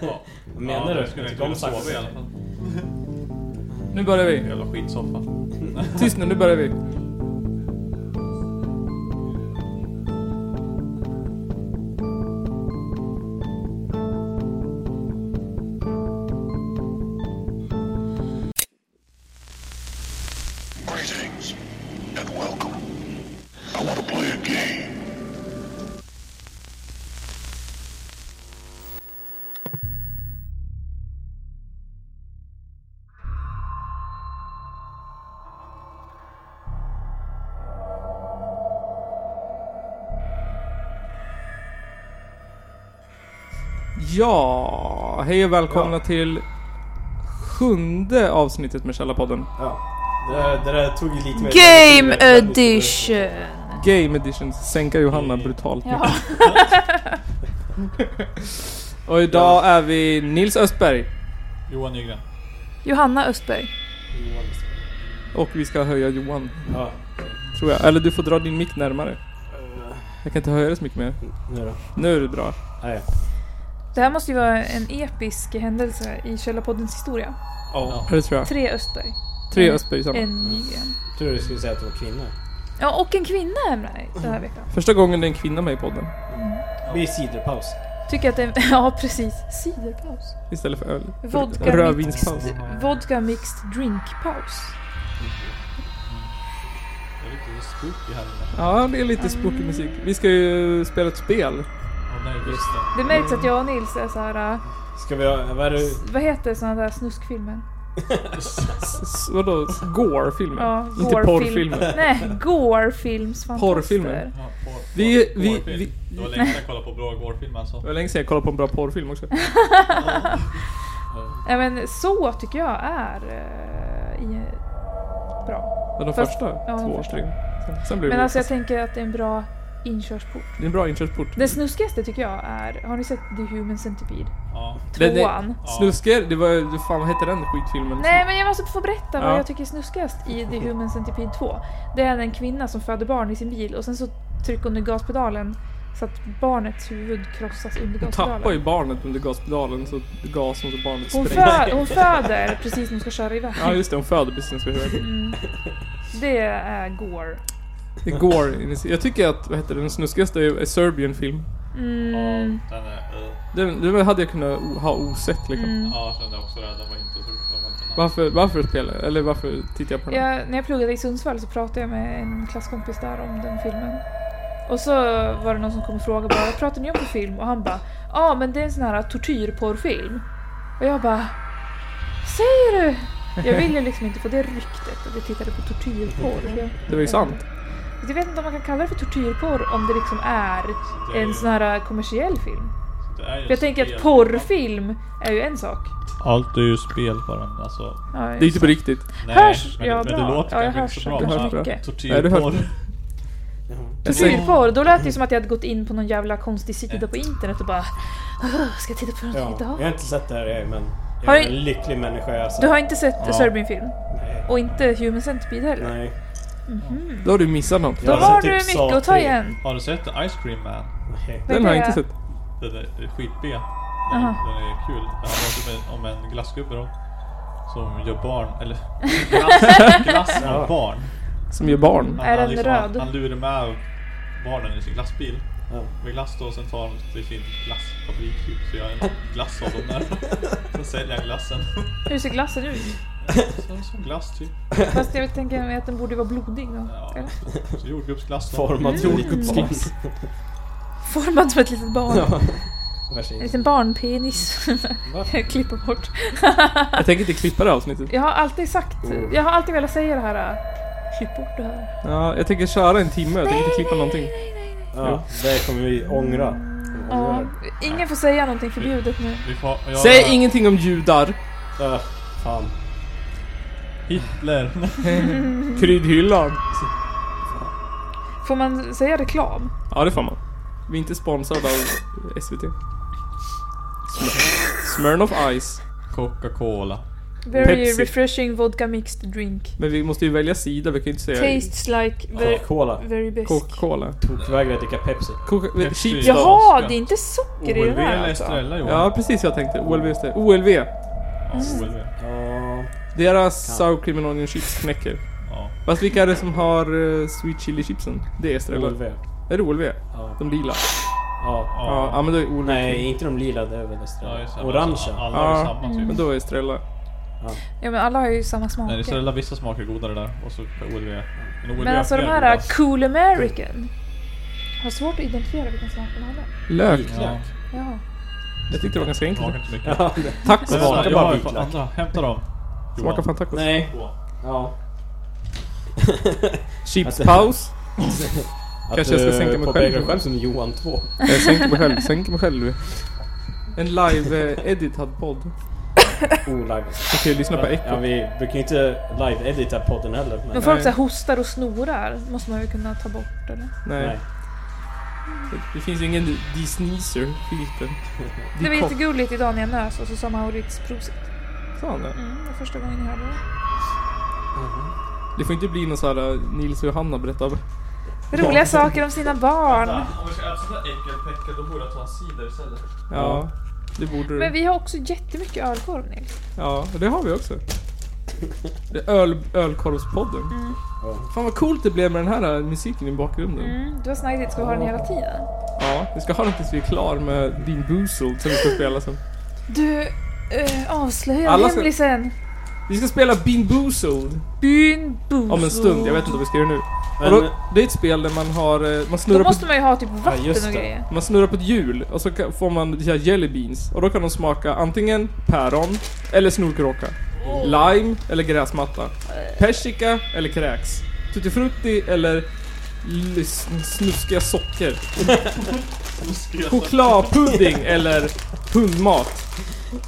Ja. Vad menar ja, du? Skulle Tycker jag inte om sova i alla saxofon? fall. Nu börjar vi. Jävla skitsoffa. Tyst nu, nu börjar vi. Greetings and welcome. I want to play a game. Ja, hej och välkomna Ja. till sjunde avsnittet med Källarpodden. Ja. Det där, det där tog ju lite mer Game edition! Game edition, sänka Johanna brutalt Ja. Och idag är vi Nils Östberg Johan Nygren. Johanna Östberg. och vi ska höja Johan, Ja. tror jag. Eller du får dra din mick närmare. Eh, Jag kan inte höja det så mycket mer. Nu då? Nu är det bra. Nej. Det här måste ju vara en episk händelse i Källarpoddens historia. Ja. Ja, Det tror jag. Tre Östberg, Tre Mm. Östberg samma. en Nygren. Tur du skulle säga att det var kvinna. Ja, och en kvinna är med den här veckan. Första gången det är en kvinna med i podden. Det blir ciderpaus. Tycker att det är... Ja, precis. Ciderpaus. Istället för öl. Vodka Rödvinspaus. mixed, vodka mixed drink-paus. Det är lite spooky här inne. Ja, det är lite spooky musik. Vi ska ju spela ett spel. Ja, nej, just det. Det märks att jag och Nils är så här. äh, Ska vi ha... Vad är det? Vad heter såna där snuskfilmer? S- s- Vadå? Gore-filmer? Ja, Inte gore-film. porrfilmer. Nej, gore-filmsfantaster. Porrfilmer. Ja, porr- Vi- porr- vi- porrfilm. vi- Det var länge sedan jag kollade på bra gårfilm alltså. Det var länge sedan jag kollade på en bra porrfilm också. Ja, men så tycker jag är eh, i, bra. Men de Fast- första ja, de två första. åren. Sen, sen blev Men det... Mm. alltså jag tänker att det är en bra inkörsport. Det är en bra inkörsport. Den snuskigaste tycker jag är, har ni sett The Human Centipede? Ja. Det- det- Tvåan. Ja. Snusker, det var... Fan, vad hette den skitfilmen? Nej men jag måste få berätta Ja. vad jag tycker är snuskigast i The Human Centipede 2. Det är en kvinna som föder barn i sin bil och sen så trycker hon i gaspedalen så att barnets huvud krossas under Hon tappar ju gaspedalen. barnet under gaspedalen så gasen så barnet Hon, sprängs. fö- hon föder precis när hon ska köra iväg. Ja just det, hon föder precis när hon ska iväg. Mm. Det är gore. Det går in i- Jag tycker att, vad heter det, den snuskigaste är är Serbian film. Ja, Mm. den är... eh, Den, den hade jag kunnat o- ha osett liksom. Mm. Ja, jag kände också det. Den var inte så den var inte nice. Varför, varför spelar Eller varför tittar jag på den? Jag, när jag pluggade i Sundsvall så pratade jag med en klasskompis där om den filmen. Och så var det någon som kom och frågade bara, vad pratar ni om för film? Och han bara, ja ah, men det är en sån här tortyrporrfilm. Och jag bara, säger du? Jag ville liksom inte få det ryktet att vi tittade på tortyrporr. för jag- Det var ju sant. Jag vet inte om man kan kalla det för tortyrporr om det liksom är Det är ju- en sån här kommersiell film. det är ju För jag tänker spel. att porrfilm är ju en sak. Allt är ju spel bara. Alltså, Ja, Det är ju typ på riktigt. nej, Hörs men, jag men bra? det låter Ja, jag kanske hörs inte så bra. väldigt men- mycket. Nej, du hörs Tortyrporr. Jag säger, Tortyrporr, då lät det ju som att jag hade gått in på någon jävla konstig sida på internet och bara "Åh, Ska jag titta på Ja. Jag något idag? har inte sett det här än, men... Har Jag är du- en lycklig människa alltså. Du har inte sett Ja. Serbian-film? Nej. Och inte Human Centipede heller? Nej. då har du missat något. Då Ja, har typ du Saw mycket att ta 3. igen. Har du sett The Ice Cream Man? Nej. Vad är Den har jag det? inte sett. Den är den är skit-B. Den, Aha. den är kul. Det handlar typ om en glassgubbe då. Som gör barn, eller glass, glass Ja. med barn. Som gör barn. Han, Är han den liksom- röd? Han, han lurar med barnen i sin glassbil. Ja. Med glass då, och sen tar han till sin glassfabrik typ. Så gör han en glass av dem där. Sen säljer han glassen. Hur ser glassen ut? Som, som glass typ. Fast jag tänker mig att den borde vara blodig då. Ja. Eller? Så jordgubbsglass då. Mm. Formad som jordgubbsglass. Formad som ett litet barn. En Varsågod. liten barnpenis. Klippa bort. Jag tänker inte klippa det här avsnittet. Jag har alltid sagt, jag har alltid velat säga det här. äh, Klipp bort det här. Ja, jag tänker köra en timme. Jag tänker inte klippa någonting. Ja, det kommer vi ångra. Ja, ingen får säga någonting förbjudet nu. Vi får, jag, Säg ingenting om judar. Ja, fan. Hitler. Kryddhyllan. Får man säga reklam? Ja, det får man. Vi är inte sponsrade av SVT. Smir- Smirnoff Ice. Coca-Cola. Very Pepsi. refreshing vodka mixed drink. Men vi måste ju välja sida, vi kan ju inte säga Tastes like very, Coca-Cola. very best. Coca-Cola. Tokvägrar att dricka Pepsi. Coca vi- Pepsi. Chips. Jaha, Stavas, det är inte socker i den OLV här eller alltså? Estrella Johan? Ja, precis jag tänkte. OLV just det. OLV. Ja, OLV. Ja. Deras sour cream and onion chips knäcker. Ja. Fast vilka är det som har eh, sweet chili chipsen? Det är Estrella. OLV. Är det OLV? Ja. De lila? ja. Oh, Ja, ja men då är OLV. Nej, inte de lila. Det är väl Ja, Estrella. just det. Orangea. Alla har ju Ja. Mm. samma typ. Men då är Estrella. Ja men alla har ju samma Nej, det är smaker. så vissa smaker är godare där och så OLV. Men, OLV Men alltså de är här godast. cool American. Har svårt att identifiera vilken smak de hade. Lök. Ja, Vitlök. Ja. Jag tyckte det var ganska det smakar enkelt. inte så mycket. Ja. det- Tacos. Men smakar vänta, bara jag har ju vitlök. fan- andra, Hämta dem. Smakar fan tacos. Nej. Johan. Ja. Chipspaus. Kanske jag ska sänka mig själv. eh, själv. själv som Johan 2. Jag sänker mig själv. Sänker mig själv. En live-editad podd. Olaga. Jag kan ju lyssna på Ja, Echo. vi brukar ju inte live-edita podden heller. Men Men eh, folk Nej. så här hostar och snorar måste man ju kunna ta bort eller? Nej. nej. Det finns ju ingen de-sneezer. Filter. Det var jättegulligt idag när jag nös och så sa Maurits prosit. Sa han det? Mm, det var första gången jag hörde det. Det får inte bli någon sån här eh, Nils och Johanna berättar. Roliga saker om sina barn. Vänta, Om vi ska äta sån där äckelpäckel då borde jag ta en cider istället. Ja. Det borde du. Men vi har också jättemycket ölkorv Nils. Ja, och det har vi också. Det är öl, ölkorvspodden. Fan vad coolt det blev med den här eh, musiken i bakgrunden. Mm, det var snajdigt, ska vi ha den hela tiden? Ja, vi ska ha den tills vi är klar med din Boozled som vi ska spela sen. Du, eh, avslöja Alla ska- hemlisen. Vi ska spela Bean Boozled Byn Boozled. om en stund. Jag vet inte vad vi ska göra nu. Men- och då, det är ett spel där man har... eh, Man Då snurrar, måste på, man ju ha typ vatten just och det. grejer. man snurrar på ett hjul och så kan, får man så här jelly beans. Och då kan de smaka antingen päron eller snorkråka. Lime eller gräsmatta. Persika eller kräks. Tutti frutti eller l- snuskiga socker. Chokladpudding eller hundmat.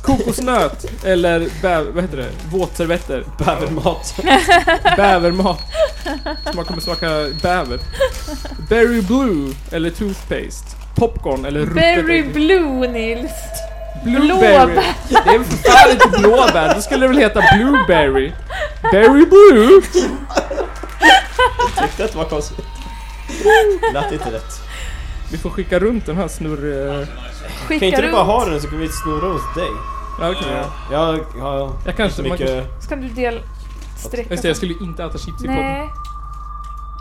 Kokosnöt eller bä, vad heter det? våtservetter. Bävermat. Bävermat. Man kommer smaka bäver. Berry blue eller toothpaste. Popcorn eller ruttet Berry ägg. Blue Nils. Blueberry. blåbär. Det är väl för fan inte blåbär. Då skulle det väl heta blueberry. Berry blue. Tyckte att det var konstigt. Lät inte rätt. Vi får skicka runt den här snurr... eh, Skicka Kan inte du runt. bara ha den så kan vi snurra hos dig? Ja, det kan vi göra. Jag har Jag kanske... så Man kan, mycket... Ska du del... Sträcka just det, jag skulle ju inte äta chips i podden. Nej.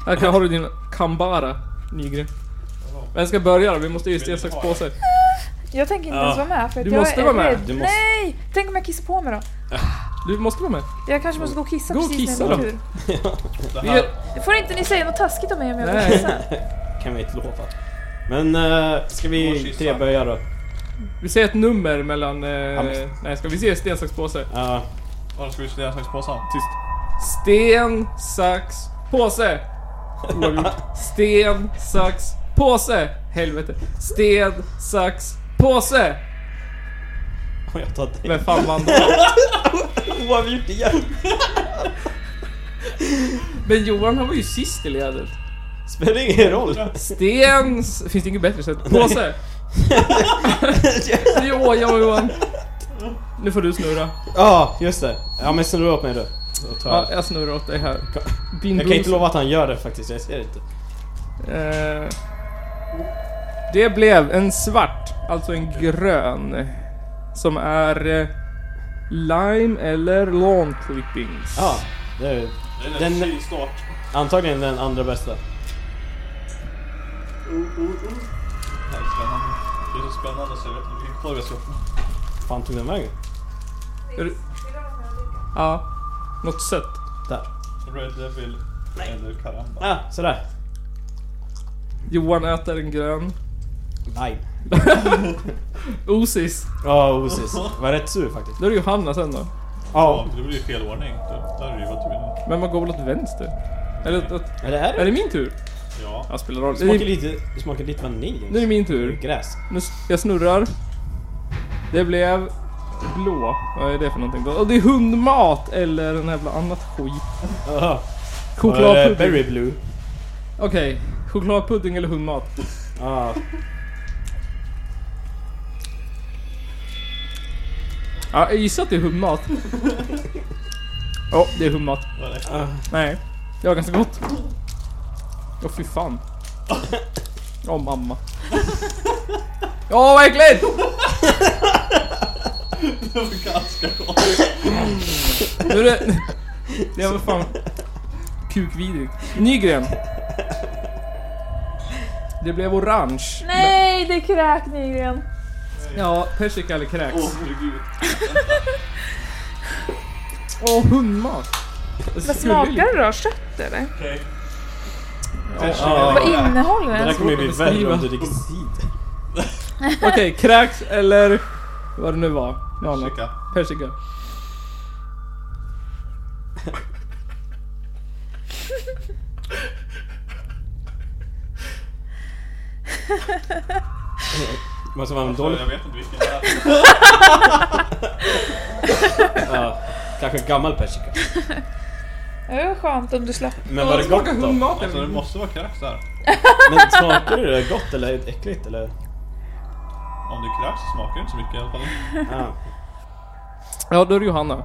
Här kan, har du din Kambara, Nygren. Vem ska börja då? Vi måste ju sten, sax, påse. Jag tänker inte Ja. ens vara med för att Du jag måste är vara med. rädd. Du måste- Nej! Tänk om jag kissar på mig då? Du måste vara med. Jag kanske måste gå och kissa Gå och precis kissa när det är då. min tur. Det Vi här, gör, Får inte ni säga något taskigt om mig om jag går och Nej. kissar? kan vi inte lova. Men eh, ska vi Årskissa. tre böja då? vi säger ett nummer mellan... Eh, men- nej, ska vi se sten, sax, påse? Ja, vad ska vi slänga saxpåsen? Tyst. Sten, sax, påse! Oavgjort. Sten, sax, påse! Helvete. Sten, sax, påse! och jag tar dig. Vem fan vann då? Oavgjort igen! Men Johan han var ju sist i ledet. Spelar ingen roll. Sten... s- Finns det inget bättre sätt? Påse! jo, ja, Johan. Nu får du snurra. Ja, just det. Ja men snurra åt mig då. Då tar Ja, jag. jag snurrar åt dig här. Din Jag kan inte blus- lova att han gör det faktiskt, jag ser det inte. Eh, det blev en svart, alltså en grön. Som är eh, lime eller lawn clippings. Ja, det är Den- Den... Start. antagligen den andra bästa. Det här är spännande. Det är så spännande så jag vet inte vilken korv jag ska öppna. fan tog den vägen? Är det- Ja. Något sött. Där. Red Devil eller Karamba. Ah, sådär. Johan äter en grön. Lime. Osis. Ja, osis. Var rätt sur faktiskt. Då är det Johanna sen då. Ja. Ja, det blir ju fel ordning. Det- Där är det ju vad tur. Men man går väl åt vänster? Eller åt- åt... Eller är Är det? det min tur? Ja. Ja, spelar roll. Det smakar lite, det smakar lite vanilj. Nu är det min tur. Gräs. Nu, s- jag snurrar. Det blev blå. Vad är det för någonting då? Och det är hundmat eller en jävla annat skit. Jaha. Chokladpudding. Eh, Berry blue. Okej. Chokladpudding eller hundmat? Ja. Ja, jag gissar att det är hummat. Ja, det är hummat. Vad är det? Ah, Nej, det var ganska gott. Åh fy fan. Åh mamma. Åh vad äckligt! Det var ganska gott. Nu är det... Det var fan... Kukvidrigt. Nygren. Det blev orange. Nej, det är kräk Nygren. Ja, persika eller kräks. Åh herregud. Åh, hundmat. Vad smakar det då? Kött eller? Okej. Ja. Vad innehåller det där den? kommer ju bli Svårt att värre om beskriva. du dricker cider. Okej, kräks eller vad det nu var. Något annat. Persika. Persika. Man ska vara en Alltså, dålig... Jag vet inte vilken det är. Ja, kanske en gammal persika. Det var skönt om du slapp. Men var det gott Smakar då? hundmat. Alltså det måste vara kräks där. Men smakar det där gott eller är det äckligt eller? Om det är kräks så smakar det inte så mycket i alla fall. Ah. Ja, då är det Johanna. Du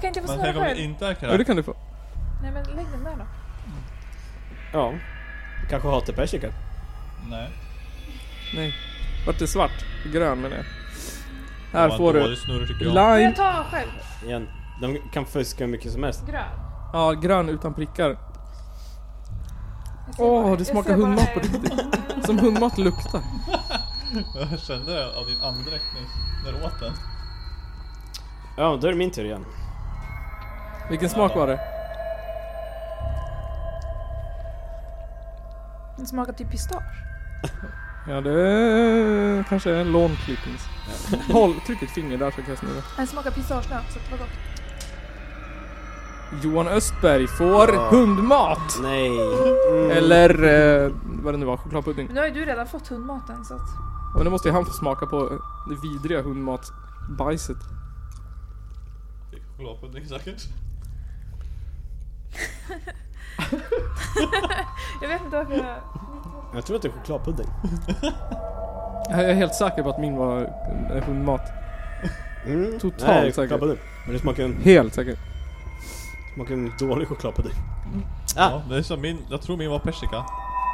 kan inte få Men snurra tänk om det själv. inte är Ja, det kräks. kan du få. Nej men lägg den där då. Ja. Kanske hatar persika. Nej. Nej. Vart det svart? Grön menar jag. Här Det var får en du dålig snurr tycker jag. Får lime. jag ta själv? Igen. De kan fuska hur mycket som helst. Grön. Ja, grön utan prickar. Jag ser Åh, bara- det jag smakar ser bara- hundmat på Som hundmat luktar. Jag kände det av din andedräkt nyss. När du åt den. Ja, då är det min tur igen. Vilken smak var det? Den smakar typ pistage. Ja, det är kanske är lawn clippings. Håll, tryck ett finger där så kan jag snurra. Den smakar pistagenöt så det var gott. Johan Östberg får hundmat. Nej. Mm. Eller eh, vad det nu var, chokladpudding. Men nu har ju du redan fått hundmaten så att... Men nu måste ju han få smaka på det vidriga hundmatbajset. Fick chokladpudding säkert. Jag vet inte varför jag... Jag tror att det är chokladpudding. Jag är helt säker på att min var eh, hundmat. Mm. Totalt Nej, säkert. chokladpudding. Men det smakar en, Helt säker. smakar en dålig chokladpudding. Ja, det är som min, jag tror min var persika.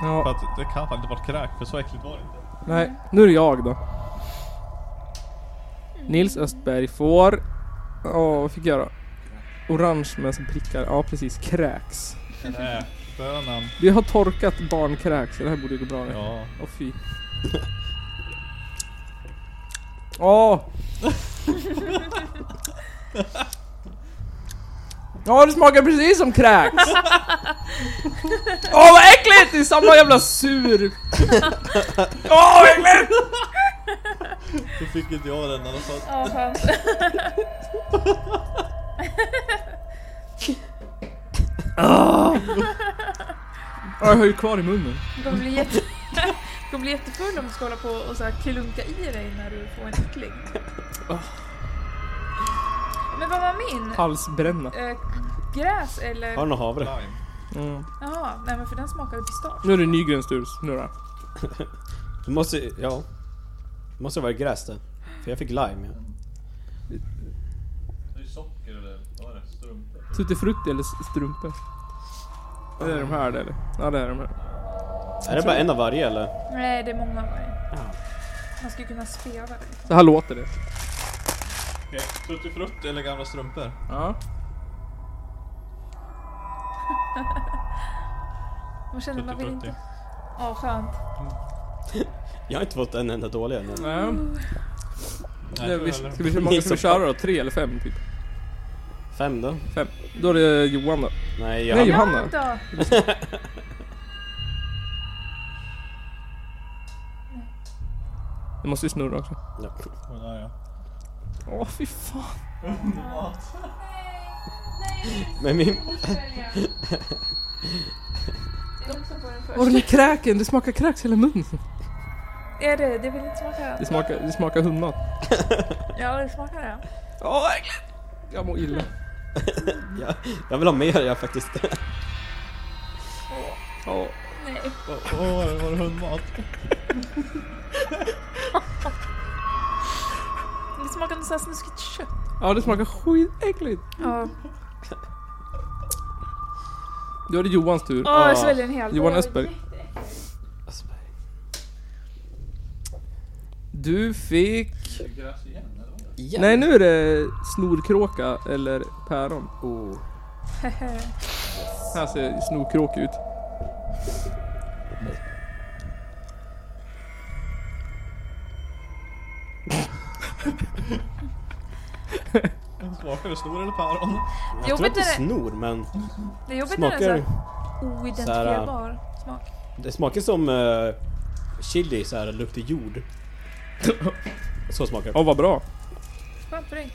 För Ja, att det kan faktiskt varit kräk, för så äckligt var det inte. nej. Nu är det jag då. Nils Östberg får... Åh, vad fick jag då? Orange med som prickar. Ja, precis. Kräks. Nej, bönan. Vi har torkat barnkräks. Det här borde gå bra nu. Ja. Åh fy. Åh! Ja, det smakar precis som kräks! Åh vad äckligt! Det är samma jävla sur... Åh vad äckligt! Då fick inte jag den i alla fall. Ja, skönt. Ah. Ja, jag har ju kvar i munnen. Du kommer bli, jätte... du kommer bli jättefull om du ska hålla på och så här klunka i dig när du får en äckling. Men vad var min? Halsbränna. Eh, gräs eller? Har du någon havre? Lime. Mm. Jaha, nej men för den smakade pistage. Nu är det Nygrens tur. Snurra. Du måste, ja. Det måste vara gräs det. För jag fick lime ja. Det är ju socker eller vad är det? Strumpa? Tuttifrutti eller s- strumpor? Det är de här eller? Ja, det är de här. Är det bara en av varje eller? Nej, det är många av varje. Man skulle kunna spela det. Så här låter det. Okej, tuttifrutt eller gamla strumpor? Ja. Man känner man vill Tuttifrutti. inte. Ja, skönt. Jag har inte fått en enda dålig än. Nej. Nej, Mm. inte Det, vi, jag heller. ska vi, hur många ska vi köra då? Tre eller fem typ? Fem då? Fem. Då är det Johan då. Nej, Nej, jag... Johanna. Ja, då. Det måste ju snurra också. Ja. Men, ja, ja. Åh fy fan. Men min... Åh den där kräken, det smakar kräks i hela munnen. Är det? Det vill inte smaka? Det smakar, det smakar hundmat. Ja, det smakar det. Åh vad äckligt. Jag mår illa. Jag, jag vill ha mer jag faktiskt. Åh. Nej. Åh, åh, var det- var det hundmat? Det smakar något sånt här snuskigt kött. Ja, det smakar skitäckligt. Ja. Då är det Johans tur. Åh, Ah, jag sväljer en hel. Johan Östberg. Asperger. Du fick... Gräs igen eller? vad? Igen? Nej, nu är det snorkråka eller päron. Oh. Här ser snorkråk ut. Smakar det snor eller päron? Jag Jobbigt tror att det är det- snor men Det är jobbigt när den smakar... är äh. så här oidentifierbar smak. Det smakar som eh, chili så här, luktar jord. Så smakar det. Åh, vad bra. Skönt för dig.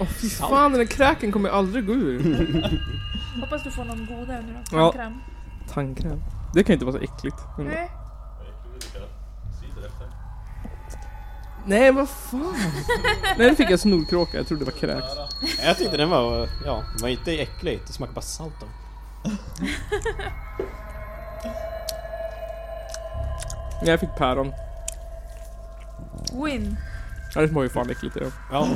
Åh, fy fan, den där kräken kommer jag aldrig gå ur. Hoppas du får någon godare nu då. Ja. Mm. Tandkräm. Tandkräm. Det kan inte vara så äckligt. ändå. Nej. Cider efter. Nej, vad fan. Nej, nu fick jag snorkråka. Jag trodde det var kräks. Jag tyckte den var, ja, den var inte äcklig. Det smakar bara salt då. Nej, jag fick päron. Win. Ja, det smakar ju fan äckligt. det. Ja,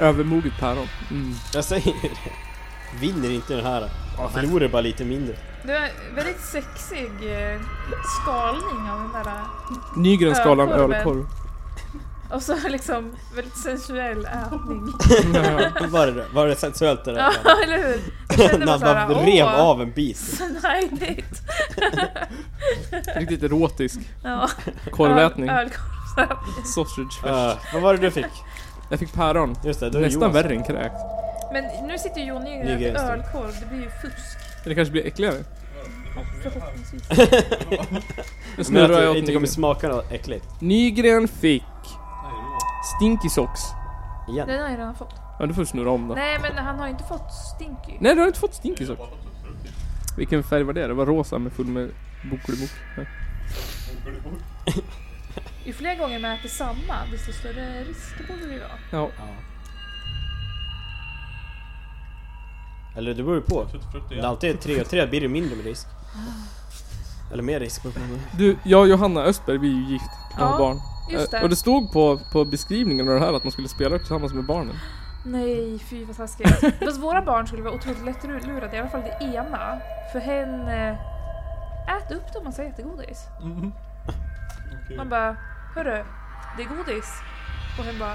Övermoget päron. Mm. jag säger det. Vinner inte den här. Förlorar bara lite mindre. Det var en väldigt sexig eh, skalning av den där. Nygren skalar en Ölkorven. ölkorv. Och så liksom väldigt sensuell ätning. Var det, var det sensuellt det Ja, där? eller hur? När man bara rev av en bit. Så najdigt. Riktigt erotisk. Ja. Korvätning. Öl- ölkorvsätning. Sausage. Eh, vad var det du fick? Jag fick päron. Just det, då är det Nästan Johan. värre än kräk. Men nu sitter ju Jon Nygren och Nygren, äter just det. ölkorv. Det blir ju fusk. Det kanske blir äckligare. Förhoppningsvis. Nu Men att snurrar jag det åt inte kommer Nygren. smaka något äckligt. Nygren fick Nej, det var- Stinky Socks. Igen. Den har jag redan fått. Ja, du får snurra om då. Nej, Nej men han har inte fått stinky. du har inte fått Stinky Socks. Vilken färg var det? Det var rosa med full med bokelibok. Ja. Ju fler gånger man äter samma desto större risker borde det ju vara. ja. Ja. Eller det beror ju på. Tuttfrutt Om det igen. alltid är tre och tre blir det mindre med risk. Eller mer risk. beror på om det- Du, jag och Johanna Östberg, vi är ju gift. och har Ja, barn. Just Eh, det. Och det stod på, på beskrivningen av det här att man skulle spela tillsammans med barnen. Nej fy vad taskigt. Fast våra barn skulle vara otroligt lättlurade, i alla fall det ena. För hen... eh, Ät upp dem och säg att det är godis. Mhm. Okej. Man bara, hörru, det är godis. Och hen bara...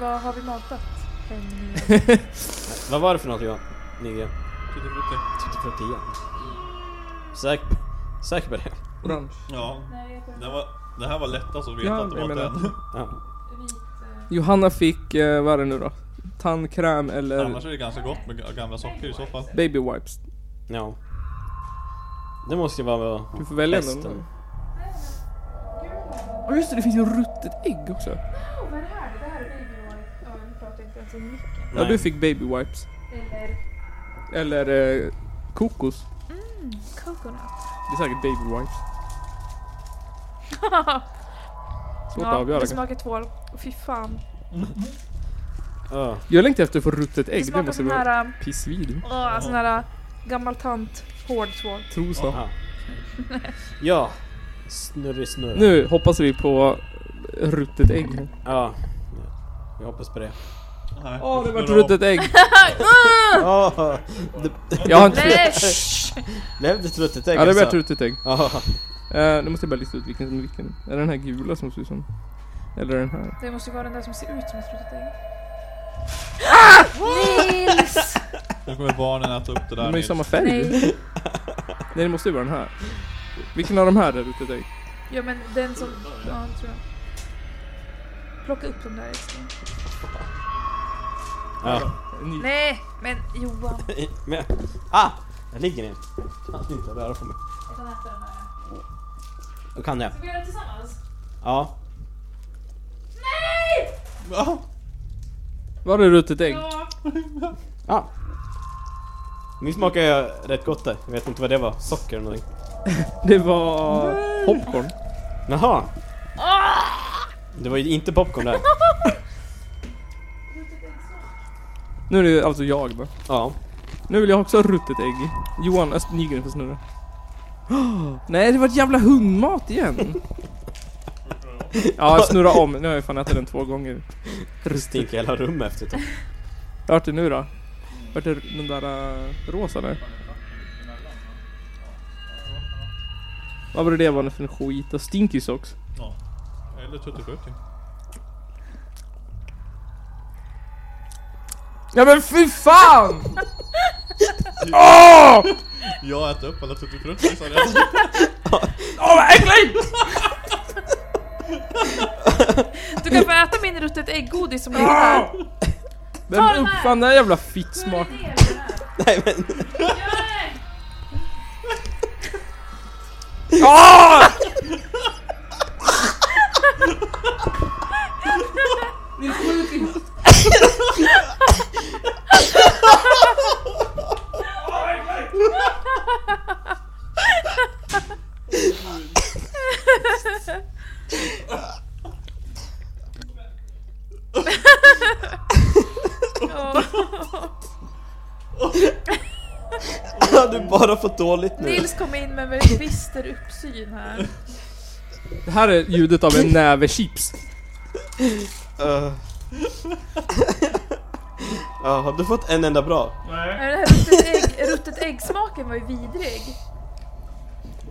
Vad har vi matat? Hen med?" Vad var det för något Johan? typ Nygren? Tuttfrutti. Tuttfrutti igen. Säker, säker på det? Orange. Ja, Nej, jag kommer det, var, det här var lättast att veta Ja, att det jag var menar den. Ja. vit... eh, Johanna fick, eh, vad är det nu då? Tandkräm eller Annars är det ganska gott med gamla socker i så fall. baby wipes. ja. Det måste ju vara Du får välja bästen. någon. Och just det, det finns ju ruttet ägg också. Åh, vad är det här? Det här är baby wipe. Ja, nu pratar jag inte ens i micken. Ja, du fick baby wipes. Eller Eller eh, kokos. coconut. Det är säkert baby wipes. Svårt att ja, avgöra det kanske. smakar tvål. Åh, Fy fan. Ja. Jag längtar efter att få ruttet Det ägg. Det smakar måste sån vara här... eh, pissvid. Åh, sån här gammal tant hård tvål. Trosa. Ja. ja. Snurrig snurr. Nu hoppas vi på ruttet ägg. Ja. Jag hoppas på det. Nej, Åh, det jag vart snurrar om. ruttet ägg. Ja. Jag har inte... Nej! shh. Blev det truttet ägg Ja, det vart alltså? ruttet ägg. Ja. Eh, nu måste jag bara lista ut vilken som är vilken. Är det den här gula som ser ut som... Eller den här? Det måste ju vara den där som ser ut som ett ruttet ägg. Nils! Nu kommer barnen äta upp det där De har ju Nils. samma färg. Nej, Nej. det måste ju vara den här. Vilken av de här är ruttet ägg? Ja men den som... Ja, tror jag. Plocka upp de där älskling. ja. Ny- Nej, men Johan. Men, ah! Där ligger den. Kan inte röra på mig. Jag kan äta den här. Då kan jag. Ska vi göra det tillsammans? Ja. Nej! Ja, Var är ruttet ägg? Ja. Ja. Min smakar ju rätt gott där. Jag vet inte vad det var. Socker eller någonting. Det var popcorn. Jaha. Ah! Det var ju inte popcorn där. Nu är det alltså jag då. Ja. Nu vill jag också ha ruttet ägg. Johan Öst Nygren får snurra. Åh, nej, det var ett jävla hundmat igen. Ja, snurra om. Nu har jag fan ätit den två gånger. Det stinker hela rummet efter ett tag. Vart är nu då? Vart är den där uh, rosa där? Vad var det det var för en skit? Och stinky socks? Ja. Eller tuttifrutti. Ja men fy fan! Åh! Jag äter upp alla tuttifrutti sa jag. Åh vad äckligt! Du kan få äta min ruttet ägggodis som ligger här. Ta Vem den här! uppfann den här jävla fittsmak? Nej men, Åh! har du bara fått dåligt nu? Nils kom in med en bister uppsyn här. Det här är ljudet av en näve chips. Uh. Ja, har du fått en enda bra? Ja, Den här ruttet, ägg, ruttet äggsmaken var ju vidrig.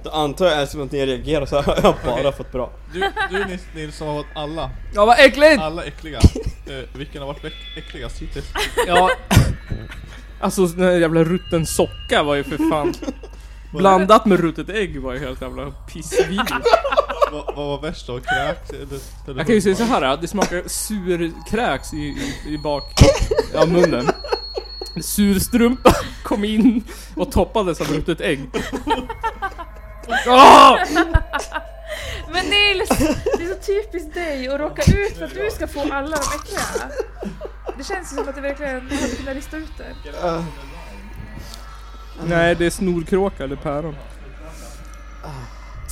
Då antar jag eftersom att ni reagerar så har jag bara fått bra. Du, du Nils, Nils som har fått alla, Ja vad äckligt! alla äckliga. Eh, vilken har varit äck- äckligast hittills? Ja. Alltså den här jävla rutten socka var ju för fan... Blandat med ruttet ägg var ju helt jävla pissvidrigt. Vad vad var värst då? Kräks eller... eller Jag kan ju säga så här, att det smakar surkräks i, i, i bak... Ja, munnen. Surstrumpa kom in och toppades av brutet ägg. Ah! Åh! Men Nils! Det är så typiskt dig att råka ut för att du ska få alla de äckliga. Det känns ju som att du verkligen hade kunnat lista ut det. Uh. Nej, det är snorkråka eller päron.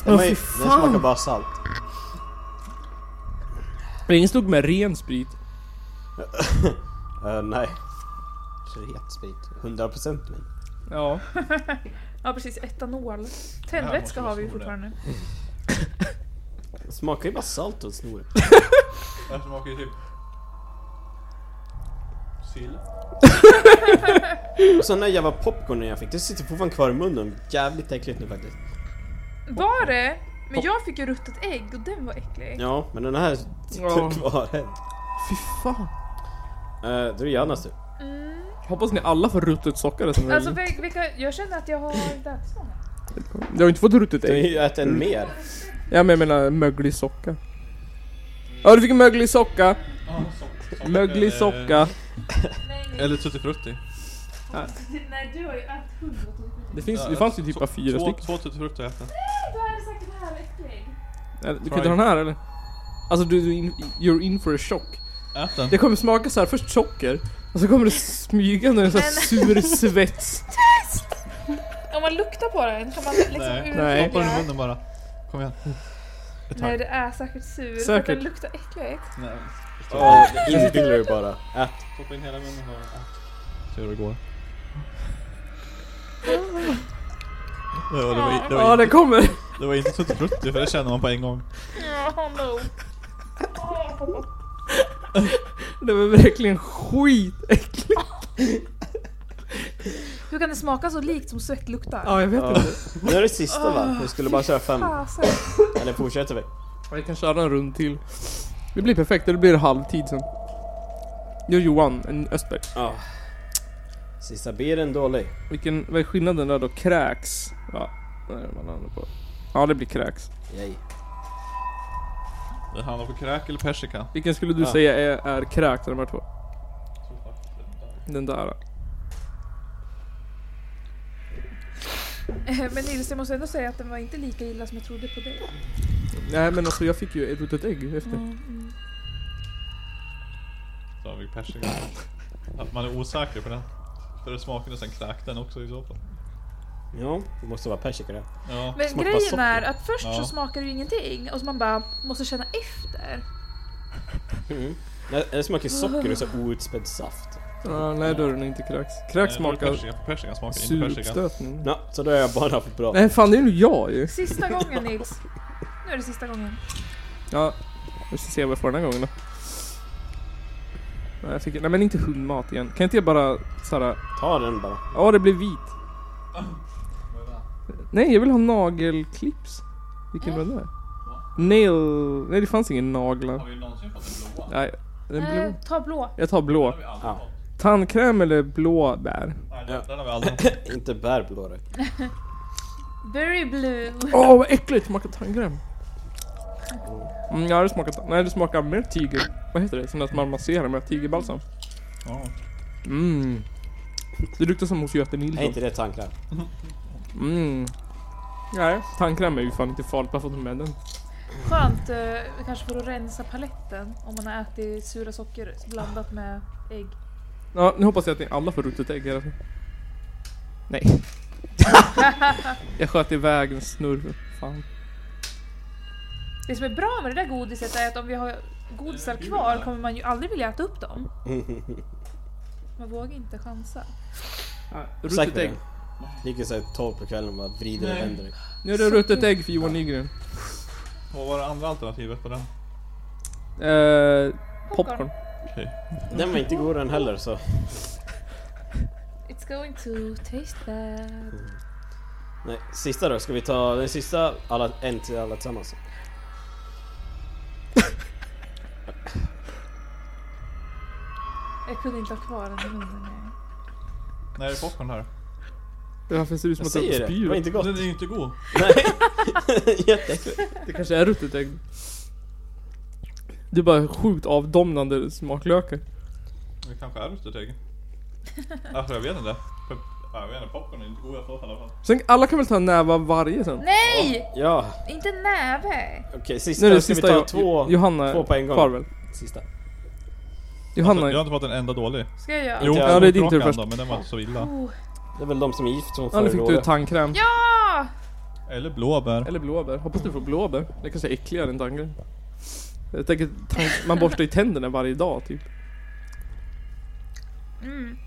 Den, Åh, var ju- fy den fan. smakar bara salt. Men ingen stod med ren sprit. Eh, nej. Så det är het sprit. 100% min. Ja. Ja precis, etanol. Tändvätska har vi ju fortfarande. Den smakar ju bara salt och snor. Det här smakar ju typ... Sill. Och sen den där jävla popcornen jag fick, det sitter fortfarande kvar i munnen. Jävligt äckligt nu faktiskt. Var det? Men jag fick ju ruttet ägg och den var äcklig. Ja, men den här typ Ja. sitter kvar än. Fy fan. Eh, då är det Jannas tur. Hoppas ni alla får ruttet socka det som Alltså alltså, vil- vilka, jag känner att jag har dagsång. Jag har inte fått ruttet Du har ägg. ju ätit en mer. Ja, men jag menar möglig socka. Ja, du fick en möglig socka. Ja, sock- sock- eh, Möglig socka. Eller tuttifrutti. Nej du har ju ätit hundra Det, finns, det fanns ju typ bara fyra två, stycken. Två tuttifrutti har jag ätit. Du hade sagt den här var äcklig. Eller, Du kan Try. inte ha den här eller? Alltså du, du in, you're in for a shock. Ät den. Det kommer smaka så här först socker, och så kommer det smygande en sån här sur svets. Om man luktar på den kan man liksom Nej. Nej. Stoppa den i urskilja. munnen bara. Kom igen. Ett Nej tag. det är säkert sur. För att Säkert. den luktar äckligt. Nej. Ja, Inbillar du bara. Ät. Stoppa in hela munnen och ät. Se hur det går. Ja, det, var, det, Ja var, det kommer! det var inte tuttifrutti för det känner man på en gång. Ja, no. Det var verkligen skitäckligt. Hur kan det smaka så likt som svett luktar? Ja jag vet Ja. inte. Nu är det sista va? Vi skulle bara köra fem. Fasen. Eller fortsätter vi? Ja, Jag kan köra en rund till. Det blir perfekt, det blir halvtid sen. Jo Johan en Östberg. Ja. Sista bilen dålig. Vilken, vad är skillnaden där då? Kräks? Ja, vad är det man landar på? Ja det blir kräks. Yay. Det handlar på kräk eller persika. Vilken skulle du Ja. säga är, är kräks av de här två? Den där. Eh, Men Nils, jag måste ändå säga att den var inte lika illa som jag trodde på dig. Nej men alltså jag fick ju ett rutet ägg efter. Då har vi persika. Att man är osäker på den. För det smakade sen kräk den också i så fall. Ja, det måste vara persika det. Ja. Men Smakar grejen socker. är att först så Ja. smakar det ju ingenting och så man bara måste känna efter. Mm. Nej, Det smakar socker och så outspädd saft. Ja, nej då är den inte kräks. Nej, Kräks då är det smakar Persika, för persika smakar inte persika. suruppstötning. Ja, så då har jag bara fått bra. Nej fan det är ju jag ju. Sista gången Nils. Nu är det sista gången. Ja, Vi ska se vad jag får den här gången då. Nej, jag fick, nej men inte hundmat igen. Kan inte jag bara såhär... Ta den bara. Ja, det blir vit. Nej, jag vill ha nagelklips. Vilken var det där? Nail... Nej, det fanns ingen naglar. Har vi någonsin fått en blåa? Nej, den blå. Eh, ta blå. Jag tar Det har blå. vi aldrig Ja. fått. Tandkräm eller blå bär? Nej, Ja. den, den har vi aldrig fått. Inte bärblåre. Very blue. Åh, vad äckligt! Smakar tandkräm. Mm, ja, det smakar... Nej, det smakar mer tiger... Vad heter det? Sånt där som man masserar med tigerbalsam. Ja. Mm. Det luktar som hos Göte Är Nilsson. inte det tandkräm? Mm. Nej, tandkräm är ju fan inte farligt bara för att de är med den. Skönt eh, kanske för att rensa paletten om man har ätit sura socker blandat med ägg. Ja, nu hoppas jag att ni alla får ruttet ägg hela tiden. Nej. jag sköt iväg en snurr. Fan. Det som är bra med det där godiset är att om vi har godisar kvar kommer man ju aldrig vilja äta upp dem. Man vågar inte chansa. Ruttet Säkert ägg. det. Ligger såhär tolv på kvällen och bara vrider och Nej. vänder dig. Nu är det ruttet ägg för Johan Nygren. Vad var det andra alternativet på den? Eh, popcorn. Den var inte god den heller så. It's going to taste Mm. bad. Nej, sista då. Ska vi ta den sista? Alla, en till alla tillsammans. Jag kunde inte ha kvar den i munnen. nej. Nej, det är popcorn här. Varför ser det ut som Jag att säger jag det. Det var spyr? inte gott. Den är ju inte god. Nej. Jätteäckligt. Det kanske är ruttet ägg. Det är bara sjukt avdomnande smaklökar. Det kanske är ruttet ägg. Alltså jag vet inte. Pep- ja, Jag vet inte, popcorn är inte god jag får i alla fall. Sen, alla kan väl ta en näve av varje sen? Nej! Ja, Inte näve! okej. sista. Nu är det Ska sista vi ta Jo- två? Johanna två på en gång. kvar väl? Sista. Johanna Jag har inte fått en enda dålig. Ska jag göra? Jo. ja, det är din tur Rakan först. Då, men den var inte så illa. Oh. Det är väl de som är gift som Ja, får nu fick du råda. tandkräm. Ja! Eller blåbär. Eller blåbär. Hoppas du får blåbär. Det kanske är äckligare än tandkräm. Jag tänker, tan- man borstar ju tänderna varje dag typ. Mm.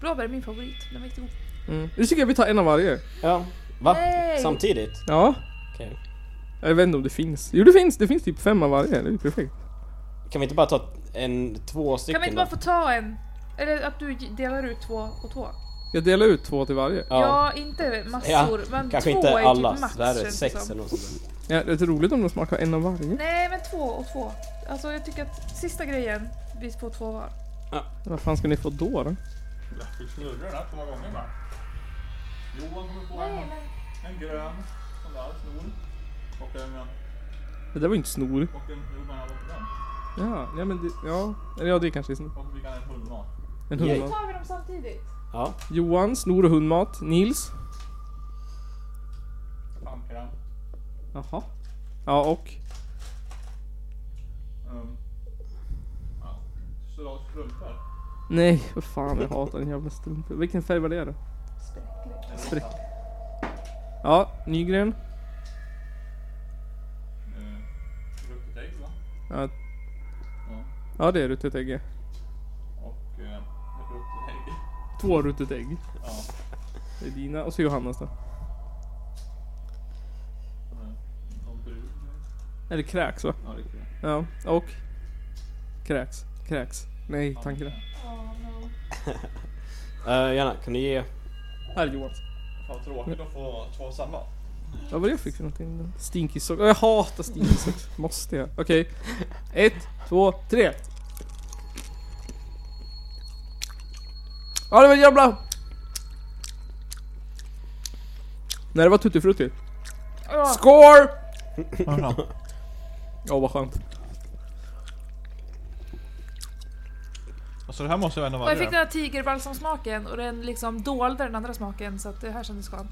Blåbär är min favorit. Den var jättegod. Mm. Nu tycker jag vi tar en av varje. Ja. Va? Nej. Samtidigt? Ja. Okej. Jag vet inte om det finns. Jo det finns, det finns typ fem av varje. Det är ju perfekt. Kan vi inte bara ta en, två stycken Kan vi inte då? bara få ta en? Eller att du delar ut två och två? Jag delar ut två till varje. Ja, Ja. inte massor. Ja, men Kanske två inte är alla. typ max det här är känns det sex som. eller något sånt där. Ja, det är så roligt om de smakar en av varje. Nej, men två och två. Alltså jag tycker att sista grejen, vi får två var. Vad fan ska ni få då då? Vi snurrar den här två gånger va? Johan kommer få en, en grön, sån där snor. Och en, Det där var ju inte snor. och en, jo men jag var på den. Ja, ja men det, ja. Eller ja det kanske är snor. Och så fick han en hundmat. En Yay. hundmat. tar vi dem samtidigt. Ja. Johan, snor och hundmat. Nils. Tandkräm. Jaha. Ja och? Um, ja. Så strumpor. Nej, vad fan jag hatar den jävla strumpan. Vilken färg var det då? Spräckligt. Sprick. Ja, Nygren. Eh, Ruttet ägg va? Ja, Ja. ja det är ruttet ägg. Och eh, ruttet ägg. Två ruttet ägg. Ja. Det är dina och så Johannas då. eh, Och brun. Eller kräks va? Ja, det är kul. Ja, och? Kräks. Kräks. Nej, tanken. Oh, no. Eh, gärna, kan du ge... Här är Johans. Fan vad tråkigt att få två samma. Ja, vad var det jag fick för någonting? Stinky socks. Jag hatar stinky socks. Måste jag? Okej. Ett, två, tre. Ja, det var jävla... Nej, det var Tutti Frutti. Ja, Skål! Jaha. Ja, vad skönt. Så Alltså, det här måste jag ändå och vara jag fick den här tigerbalsamsmaken och den liksom dolde den andra smaken så att det här kändes skönt.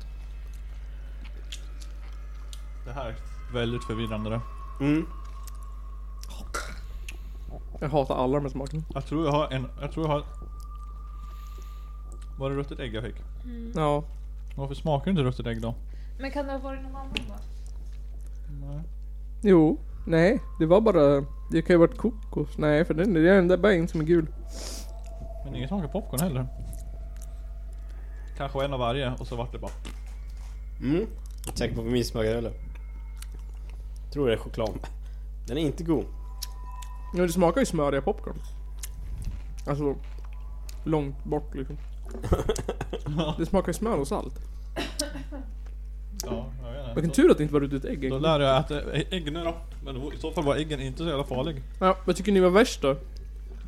Det här är väldigt förvirrande det. Mm. Jag hatar alla de här smakerna. Jag tror jag har en, jag tror jag har... Var det ruttet ägg jag fick? Ja. Varför smakar inte ruttet ägg då? Men kan det ha varit någon annan då? Nej. Jo. Nej, det var bara... Det kan ju ha varit kokos. Nej, för den, det är den där bägen som är gul. Men ingen smakar popcorn heller. Kanske en av varje och så vart det bara... Mm. Jag tänker på min smakar eller? Tror det är choklad. Den är inte god. Ja, det smakar ju smöriga popcorn. Alltså, långt bort liksom. Det smakar ju smör och salt. Ja, jag vet inte. Vilken tur att det inte var rutet Då ägg. egentligen. lär jag äta ä- ägg nu då. Men då- i så fall var äggen inte så jävla farlig. Ja, vad tycker ni var värst då? Eh,